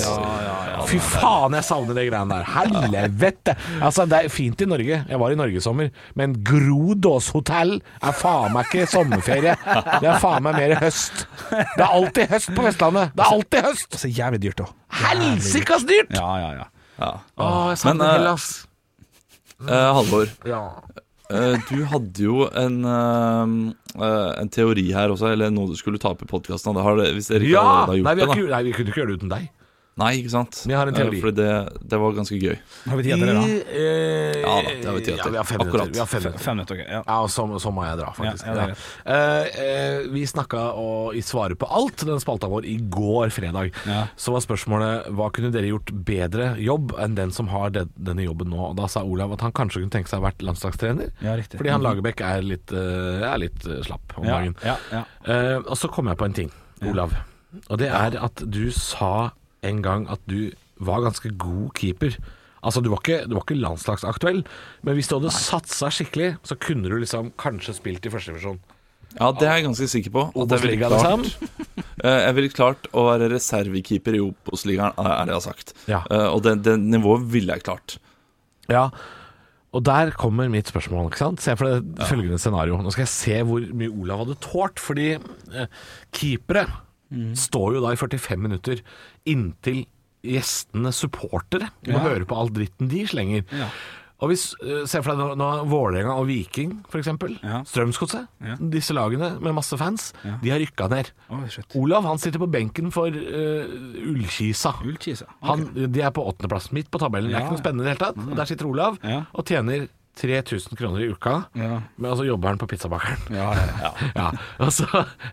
Speaker 4: Fy faen, jeg savner det greiene der. Helvete! Altså, det er fint i Norge. Jeg var i Norge i sommer, men Grodås hotell er faen meg ikke sommerferie. Det er faen meg mer høst. Det er alltid høst på Vestlandet. Det er alltid høst!
Speaker 3: Så jævlig dyrt òg.
Speaker 4: Helsikas dyrt!
Speaker 3: Ja, ja, ja.
Speaker 5: Ja.
Speaker 4: Å, jeg
Speaker 5: Men,
Speaker 4: savner
Speaker 5: eh,
Speaker 4: Hellas.
Speaker 5: Eh, Halvor,
Speaker 4: Ja.
Speaker 5: eh, du hadde jo en, eh, eh, en teori her også, eller noe du skulle ta opp i podkasten. Hvis dere ikke
Speaker 4: ja!
Speaker 5: allerede
Speaker 4: Nei, vi
Speaker 5: har
Speaker 4: har
Speaker 5: gjort det,
Speaker 4: ikke, nei, vi kunne ikke gjøre det uten deg.
Speaker 5: da. Nei, ikke sant?
Speaker 4: Vi har en
Speaker 5: Eh,
Speaker 4: teori.
Speaker 5: Fordi det, det var ganske gøy.
Speaker 3: Har vi tid til det, da?
Speaker 4: eh,
Speaker 5: Ja da, det har vi tid
Speaker 4: ja,
Speaker 5: til.
Speaker 4: vi har fem
Speaker 5: Akkurat.
Speaker 4: minutter. Vi har fem minutter.
Speaker 3: Fem minutter, ok. Ja.
Speaker 4: Ja, og så, så må jeg dra, faktisk.
Speaker 3: Ja, ja, det er
Speaker 4: Ja. Eh, eh, vi snakka og- i Svaret på alt, den spalta vår, i går fredag.
Speaker 3: Ja.
Speaker 4: Så var spørsmålet hva kunne dere gjort bedre jobb enn den som har den, denne jobben nå? Og Da sa Olav at han kanskje kunne tenke seg å vært landslagstrener.
Speaker 3: Ja, riktig.
Speaker 4: Fordi han
Speaker 5: Mhm.
Speaker 4: Lagerbäck er litt, eh, er litt eh, slapp om
Speaker 3: Ja,
Speaker 4: dagen.
Speaker 3: ja, ja.
Speaker 4: Eh, og så kom jeg på en ting, Olav. Og det er at du sa en gang at du var ganske god keeper. Altså, du var ikke, du var ikke landslagsaktuell, men hvis du hadde satsa skikkelig, så kunne du liksom kanskje spilt i førstedivisjon.
Speaker 5: Ja, det er jeg ganske sikker på. At jeg, ville
Speaker 4: Obos-ligaen,
Speaker 5: klart,
Speaker 4: liksom.
Speaker 5: eh, jeg ville klart å være reservekeeper i Obos-ligaen, er det jeg har sagt.
Speaker 4: Ja.
Speaker 5: Eh, og det, det nivået ville jeg klart.
Speaker 4: Ja. Og der kommer mitt spørsmål. ikke sant? Se for deg følgende scenario. Nå skal jeg se hvor mye Olav hadde tålt. Fordi eh, keepere
Speaker 3: Mm.
Speaker 4: står jo da i 45 minutter inntil gjestene, supportere, må høre på all dritten de slenger. Og hvis, eh, Se for deg nå, nå Vålerenga og Viking, f.eks.
Speaker 3: Ja.
Speaker 4: Strømsgodset. Disse lagene med masse fans, de har rykka ned.
Speaker 3: Oi, shit.
Speaker 4: Olav han sitter på benken for eh, Ullkisa.
Speaker 3: Ullkisa, ok.
Speaker 4: Han, de er på åttendeplass, midt på tabellen. Det er
Speaker 3: Ja,
Speaker 4: ikke noe
Speaker 3: ja.
Speaker 4: spennende i det hele tatt. Og der sitter Olav
Speaker 3: Ja.
Speaker 4: og tjener 3000 kroner i uka.
Speaker 3: Ja.
Speaker 4: Men altså jobber han på pizzabakeren.
Speaker 3: Ja, ja, ja.
Speaker 4: Ja. Og så,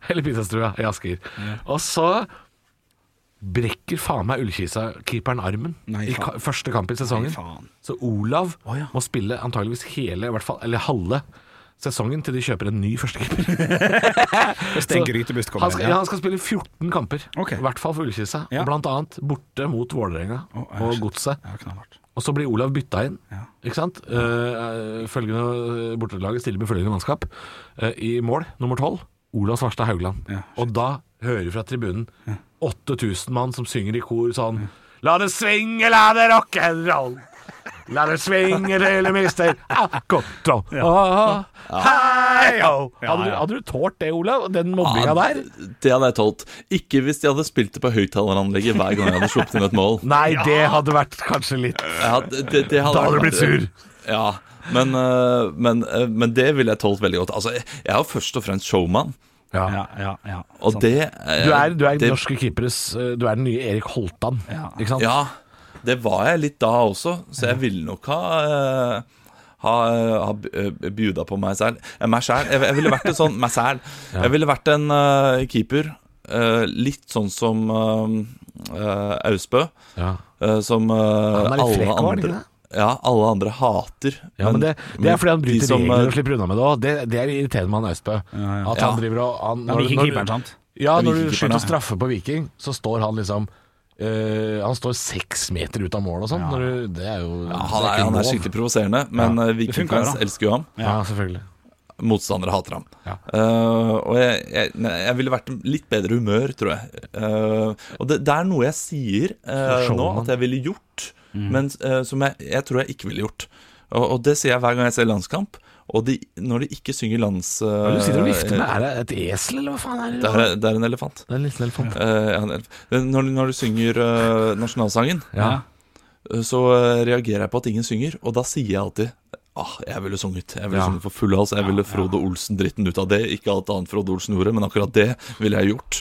Speaker 4: eller pizzastua i Asker. Og så brekker faen meg Ullkisa-keeperen armen
Speaker 3: Nei,
Speaker 4: i
Speaker 3: faen.
Speaker 4: ka første kamp i sesongen.
Speaker 3: Nei, faen.
Speaker 4: så Olav
Speaker 3: Å, ja.
Speaker 4: må spille antageligvis hele, i hvert fall, eller halve sesongen til de kjøper en ny førstekeeper.
Speaker 3: Hvis
Speaker 4: Så
Speaker 3: den grytebust kommer
Speaker 4: han skal,
Speaker 3: igjen,
Speaker 4: ja,
Speaker 3: ja.
Speaker 4: han skal spille 14 kamper,
Speaker 3: Ok.
Speaker 4: i hvert fall for Ullkisa.
Speaker 3: Ja.
Speaker 4: Blant annet borte mot Vålerenga
Speaker 3: Å, ja,
Speaker 4: og
Speaker 3: shit.
Speaker 4: Godset.
Speaker 3: Ja, knallhardt.
Speaker 4: Og så blir Olav bytta inn.
Speaker 3: Ja.
Speaker 4: Ikke sant? Eh, følgende Bortelaget stiller med følgende mannskap. Eh, I mål nummer tolv Olav Svarstad Haugland.
Speaker 3: Ja,
Speaker 4: og da hører vi fra tribunen 8000 mann som synger i kor sånn La det svinge, la det rock'n'roll. La det svinge til du mister all kontroll. Ah, Hei ho! Hadde, du- hadde du tålt det, Olav? Den mobbinga
Speaker 5: Ja,
Speaker 4: der?
Speaker 5: d- Det hadde jeg tålt. Ikke hvis de hadde spilt det på høyttaleranlegget hver gang jeg hadde sluppet inn et mål.
Speaker 4: Nei, det hadde vært kanskje litt
Speaker 5: Jeg hadde, det, det hadde
Speaker 4: Da hadde du
Speaker 5: vært-
Speaker 4: blitt sur.
Speaker 5: Ja, men, øh, men, øh, men det ville jeg tålt veldig godt. Altså, jeg jeg er jo først og fremst showman,
Speaker 3: Ja, ja, ja.
Speaker 5: og
Speaker 3: Sant.
Speaker 5: det eh,
Speaker 4: Du er, du er
Speaker 5: det,
Speaker 4: norske keeperes eh, Du er den nye Erik Holtan,
Speaker 3: Ja.
Speaker 4: ikke sant?
Speaker 5: Ja, det var jeg litt da også, så jeg ville nok ha øh, ha, øh, ha b- øh, bjuda på meg selv Eh, Meg selv, Jeg, jeg ville vært en sånn Meg selv Jeg ville vært en øh, keeper øh, Litt sånn som øh, øh, Austbø
Speaker 4: Ja.
Speaker 5: Eh, som eh,
Speaker 4: er litt
Speaker 5: alle
Speaker 4: frekk også, er han ikke
Speaker 5: andre
Speaker 4: det?
Speaker 5: ja, alle andre hater.
Speaker 4: Ja, men det, det er fordi han
Speaker 5: de
Speaker 4: bryter
Speaker 5: som, eh,
Speaker 4: regler og slipper unna med det òg. Det, det er irriterende med han Austbø.
Speaker 3: ja.
Speaker 4: At han
Speaker 5: Ja.
Speaker 4: driver og han,
Speaker 3: Ja, vikingkeeperen, sant?
Speaker 4: Ja,
Speaker 5: Ja,
Speaker 4: når du
Speaker 5: vikingkeeperen,
Speaker 4: skyter
Speaker 5: ja.
Speaker 4: og straffer på Viking, så står han liksom eh, Han står seks meter ut av mål og sånn. Når du- Det er jo
Speaker 5: ja, han,
Speaker 4: det
Speaker 5: er, han
Speaker 4: ikke
Speaker 5: er
Speaker 4: lov.
Speaker 5: skikkelig provoserende, men eh, ja,
Speaker 3: funker jo,
Speaker 5: vikingfans
Speaker 3: da.
Speaker 5: elsker jo ham.
Speaker 4: Ja, selvfølgelig.
Speaker 5: Motstandere hater ham.
Speaker 4: Ja.
Speaker 5: Eh, og jeg, jeg, nei, jeg ville vært i litt bedre humør, tror jeg. Eh, og det, det er noe jeg sier eh,
Speaker 4: Som
Speaker 5: nå
Speaker 4: showman.
Speaker 5: at jeg ville gjort,
Speaker 4: Mm.
Speaker 5: men eh, som jeg, jeg tror jeg ikke ville gjort. Og, og det sier jeg hver gang jeg ser landskamp. Og de, når de ikke synger lands...
Speaker 4: Men du sitter og
Speaker 5: eh,
Speaker 4: vifter med Er det et esel, eller hva faen er det?
Speaker 5: det er, det er en elefant.
Speaker 4: Det er en liten elefant.
Speaker 5: Eh, ja, en elef- når, du- når du synger eh, nasjonalsangen,
Speaker 4: Ja.
Speaker 5: eh, så eh, reagerer jeg på at ingen synger, og da sier jeg alltid Ah, jeg ville sunget. Jeg ville
Speaker 4: Ja.
Speaker 5: sunget for full hals. Jeg ville Frode Olsen-dritten ut av det. Ikke alt annet Frode Olsen gjorde, men akkurat det ville jeg gjort.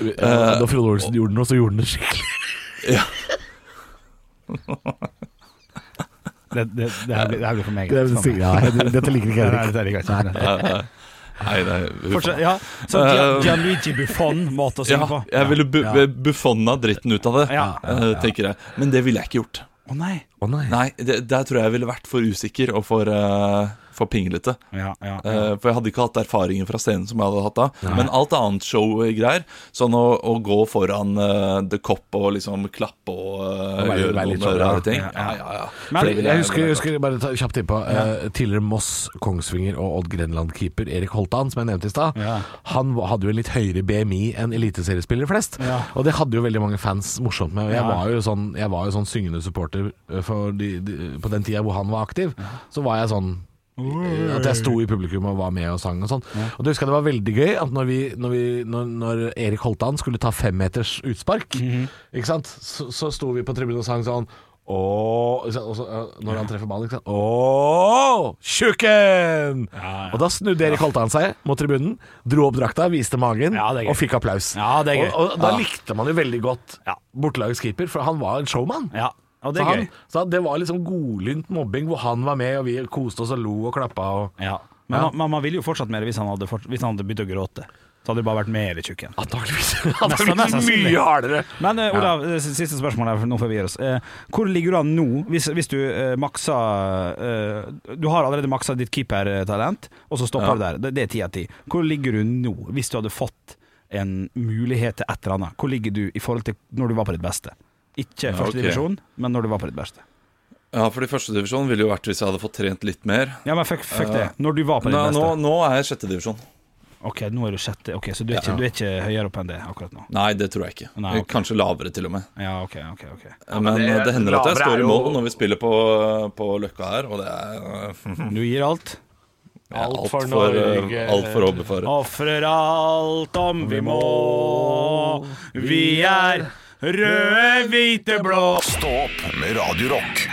Speaker 5: Eh,
Speaker 4: Ja, da Frode Olsen gjorde den, og så gjorde den det skikkelig.
Speaker 3: Det, det, det, her blir, det her blir for meg.
Speaker 4: Det er det sikkert. Ja, det- Dette liker ikke Henrik.
Speaker 3: er greit.
Speaker 5: Eh, Nei, nei huff.
Speaker 3: Fortsett. Ja, så Gian- Gianluigi Buffon-måte å synge
Speaker 5: Ja,
Speaker 3: på.
Speaker 5: jeg ville bu
Speaker 3: Ja.
Speaker 5: buffonna dritten ut av det,
Speaker 3: Ja.
Speaker 5: eh, tenker jeg. Men det ville jeg ikke gjort.
Speaker 3: Å nei.
Speaker 4: Å nei.
Speaker 5: Nei, det, Der tror jeg jeg ville vært for usikker og for eh, for pinglete.
Speaker 3: Ja, ja, ja.
Speaker 5: Eh, For jeg hadde ikke hatt erfaringen fra scenen som jeg hadde hatt da. Men alt annet show-greier, sånn å, å gå foran eh, The Cop og liksom klappe og eh,
Speaker 4: Og være-
Speaker 5: gjøre
Speaker 4: være litt
Speaker 5: noen
Speaker 4: sånn, ja,
Speaker 5: rare ting.
Speaker 3: ja,
Speaker 5: Ja,
Speaker 3: ja.
Speaker 5: ja, ja.
Speaker 3: Men-
Speaker 5: Fordi-
Speaker 4: Jeg husker, jeg husker bare ta, kjapt innpå eh, Tidligere Moss, Kongsvinger og Odd Grenland-keeper Erik Holtan, som jeg nevnte i stad,
Speaker 3: Ja.
Speaker 4: han var- hadde jo en litt høyere BMI enn eliteseriespillere flest.
Speaker 3: Ja.
Speaker 4: Og det hadde jo veldig mange fans morsomt med. Og jeg,
Speaker 3: Ja.
Speaker 4: var jo sånn, jeg var jo sånn syngende supporter eh, for de, de, på den tida hvor han var aktiv. Så var jeg sånn eh, at jeg sto i publikum og var med og sang og sånn. Og det husker jeg det var veldig gøy at når, vi, når, vi, når, når Erik Holtan skulle ta femmeters utspark,
Speaker 3: Mhm.
Speaker 4: ikke sant? Så, så sto vi på tribunen og sang sånn Åh, ikke sant? og så, eh, når han treffer ballen, ikke sant? Åh, tjukken!
Speaker 3: Ja, ja.
Speaker 4: Og da snudde Erik Holtan seg mot tribunen, dro opp drakta, viste magen
Speaker 3: Ja, det er gøy.
Speaker 4: og fikk applaus.
Speaker 3: Ja, det er gøy.
Speaker 4: Og, og da likte man jo veldig godt bortelagets keeper, for han var en showman.
Speaker 3: Ja, og det
Speaker 4: så
Speaker 3: er
Speaker 4: han,
Speaker 3: gøy.
Speaker 4: Så det var liksom godlynt mobbing hvor han var med, og vi koste oss og lo og klappa. Og...
Speaker 3: Ja. Men man- man, man ville jo fortsatt mer hvis han hadde, fort, hvis han hadde begynt å gråte. Så hadde det bare vært mer tjukk igjen.
Speaker 4: Antakeligvis.
Speaker 3: Nesten- nesten
Speaker 4: Antakeligvis
Speaker 3: synlig.
Speaker 4: mye hardere.
Speaker 3: Men eh, Olav, eh, siste spørsmål her, for nå får vi gi oss. Eh, hvor ligger du an nå, hvis, hvis du eh, makser eh, Du har allerede maksa ditt keepertalent, og så stopper
Speaker 5: Ja.
Speaker 3: du der. Det, det er ti av ti. Hvor ligger du nå, hvis du hadde fått en mulighet til et eller annet? Hvor ligger du i forhold til når du var på ditt beste? Ikke første
Speaker 5: ok.
Speaker 3: divisjon, men når du var på ditt beste.
Speaker 5: Ja, fordi førstedivisjon ville jo vært hvis jeg hadde fått trent litt mer.
Speaker 3: Ja, men fuck, fuck det. Når du var på ditt
Speaker 5: Eh, Nå, nå,
Speaker 3: beste.
Speaker 5: nå er jeg sjettedivisjon.
Speaker 3: Ok, nå er du sjette. Ok, Så du er, ikke, du er ikke høyere opp enn det akkurat nå?
Speaker 5: Nei, det tror jeg ikke.
Speaker 3: Nei, ok.
Speaker 5: Kanskje lavere, til og med.
Speaker 3: Ja, ok, ok. ok
Speaker 5: men eh, det,
Speaker 4: det-
Speaker 5: hender at
Speaker 4: lavere
Speaker 5: jeg
Speaker 4: er
Speaker 5: står i
Speaker 4: jo-
Speaker 5: mål når vi spiller på, på Løkka her, og det er
Speaker 3: Du gir alt?
Speaker 5: Alt
Speaker 4: Alt for
Speaker 5: for, eh,
Speaker 4: Norge.
Speaker 5: alt for håpefulle.
Speaker 3: Ofrer alt om vi må. Vi er røde, hvite, blå.
Speaker 1: Stå opp med Radio Rock.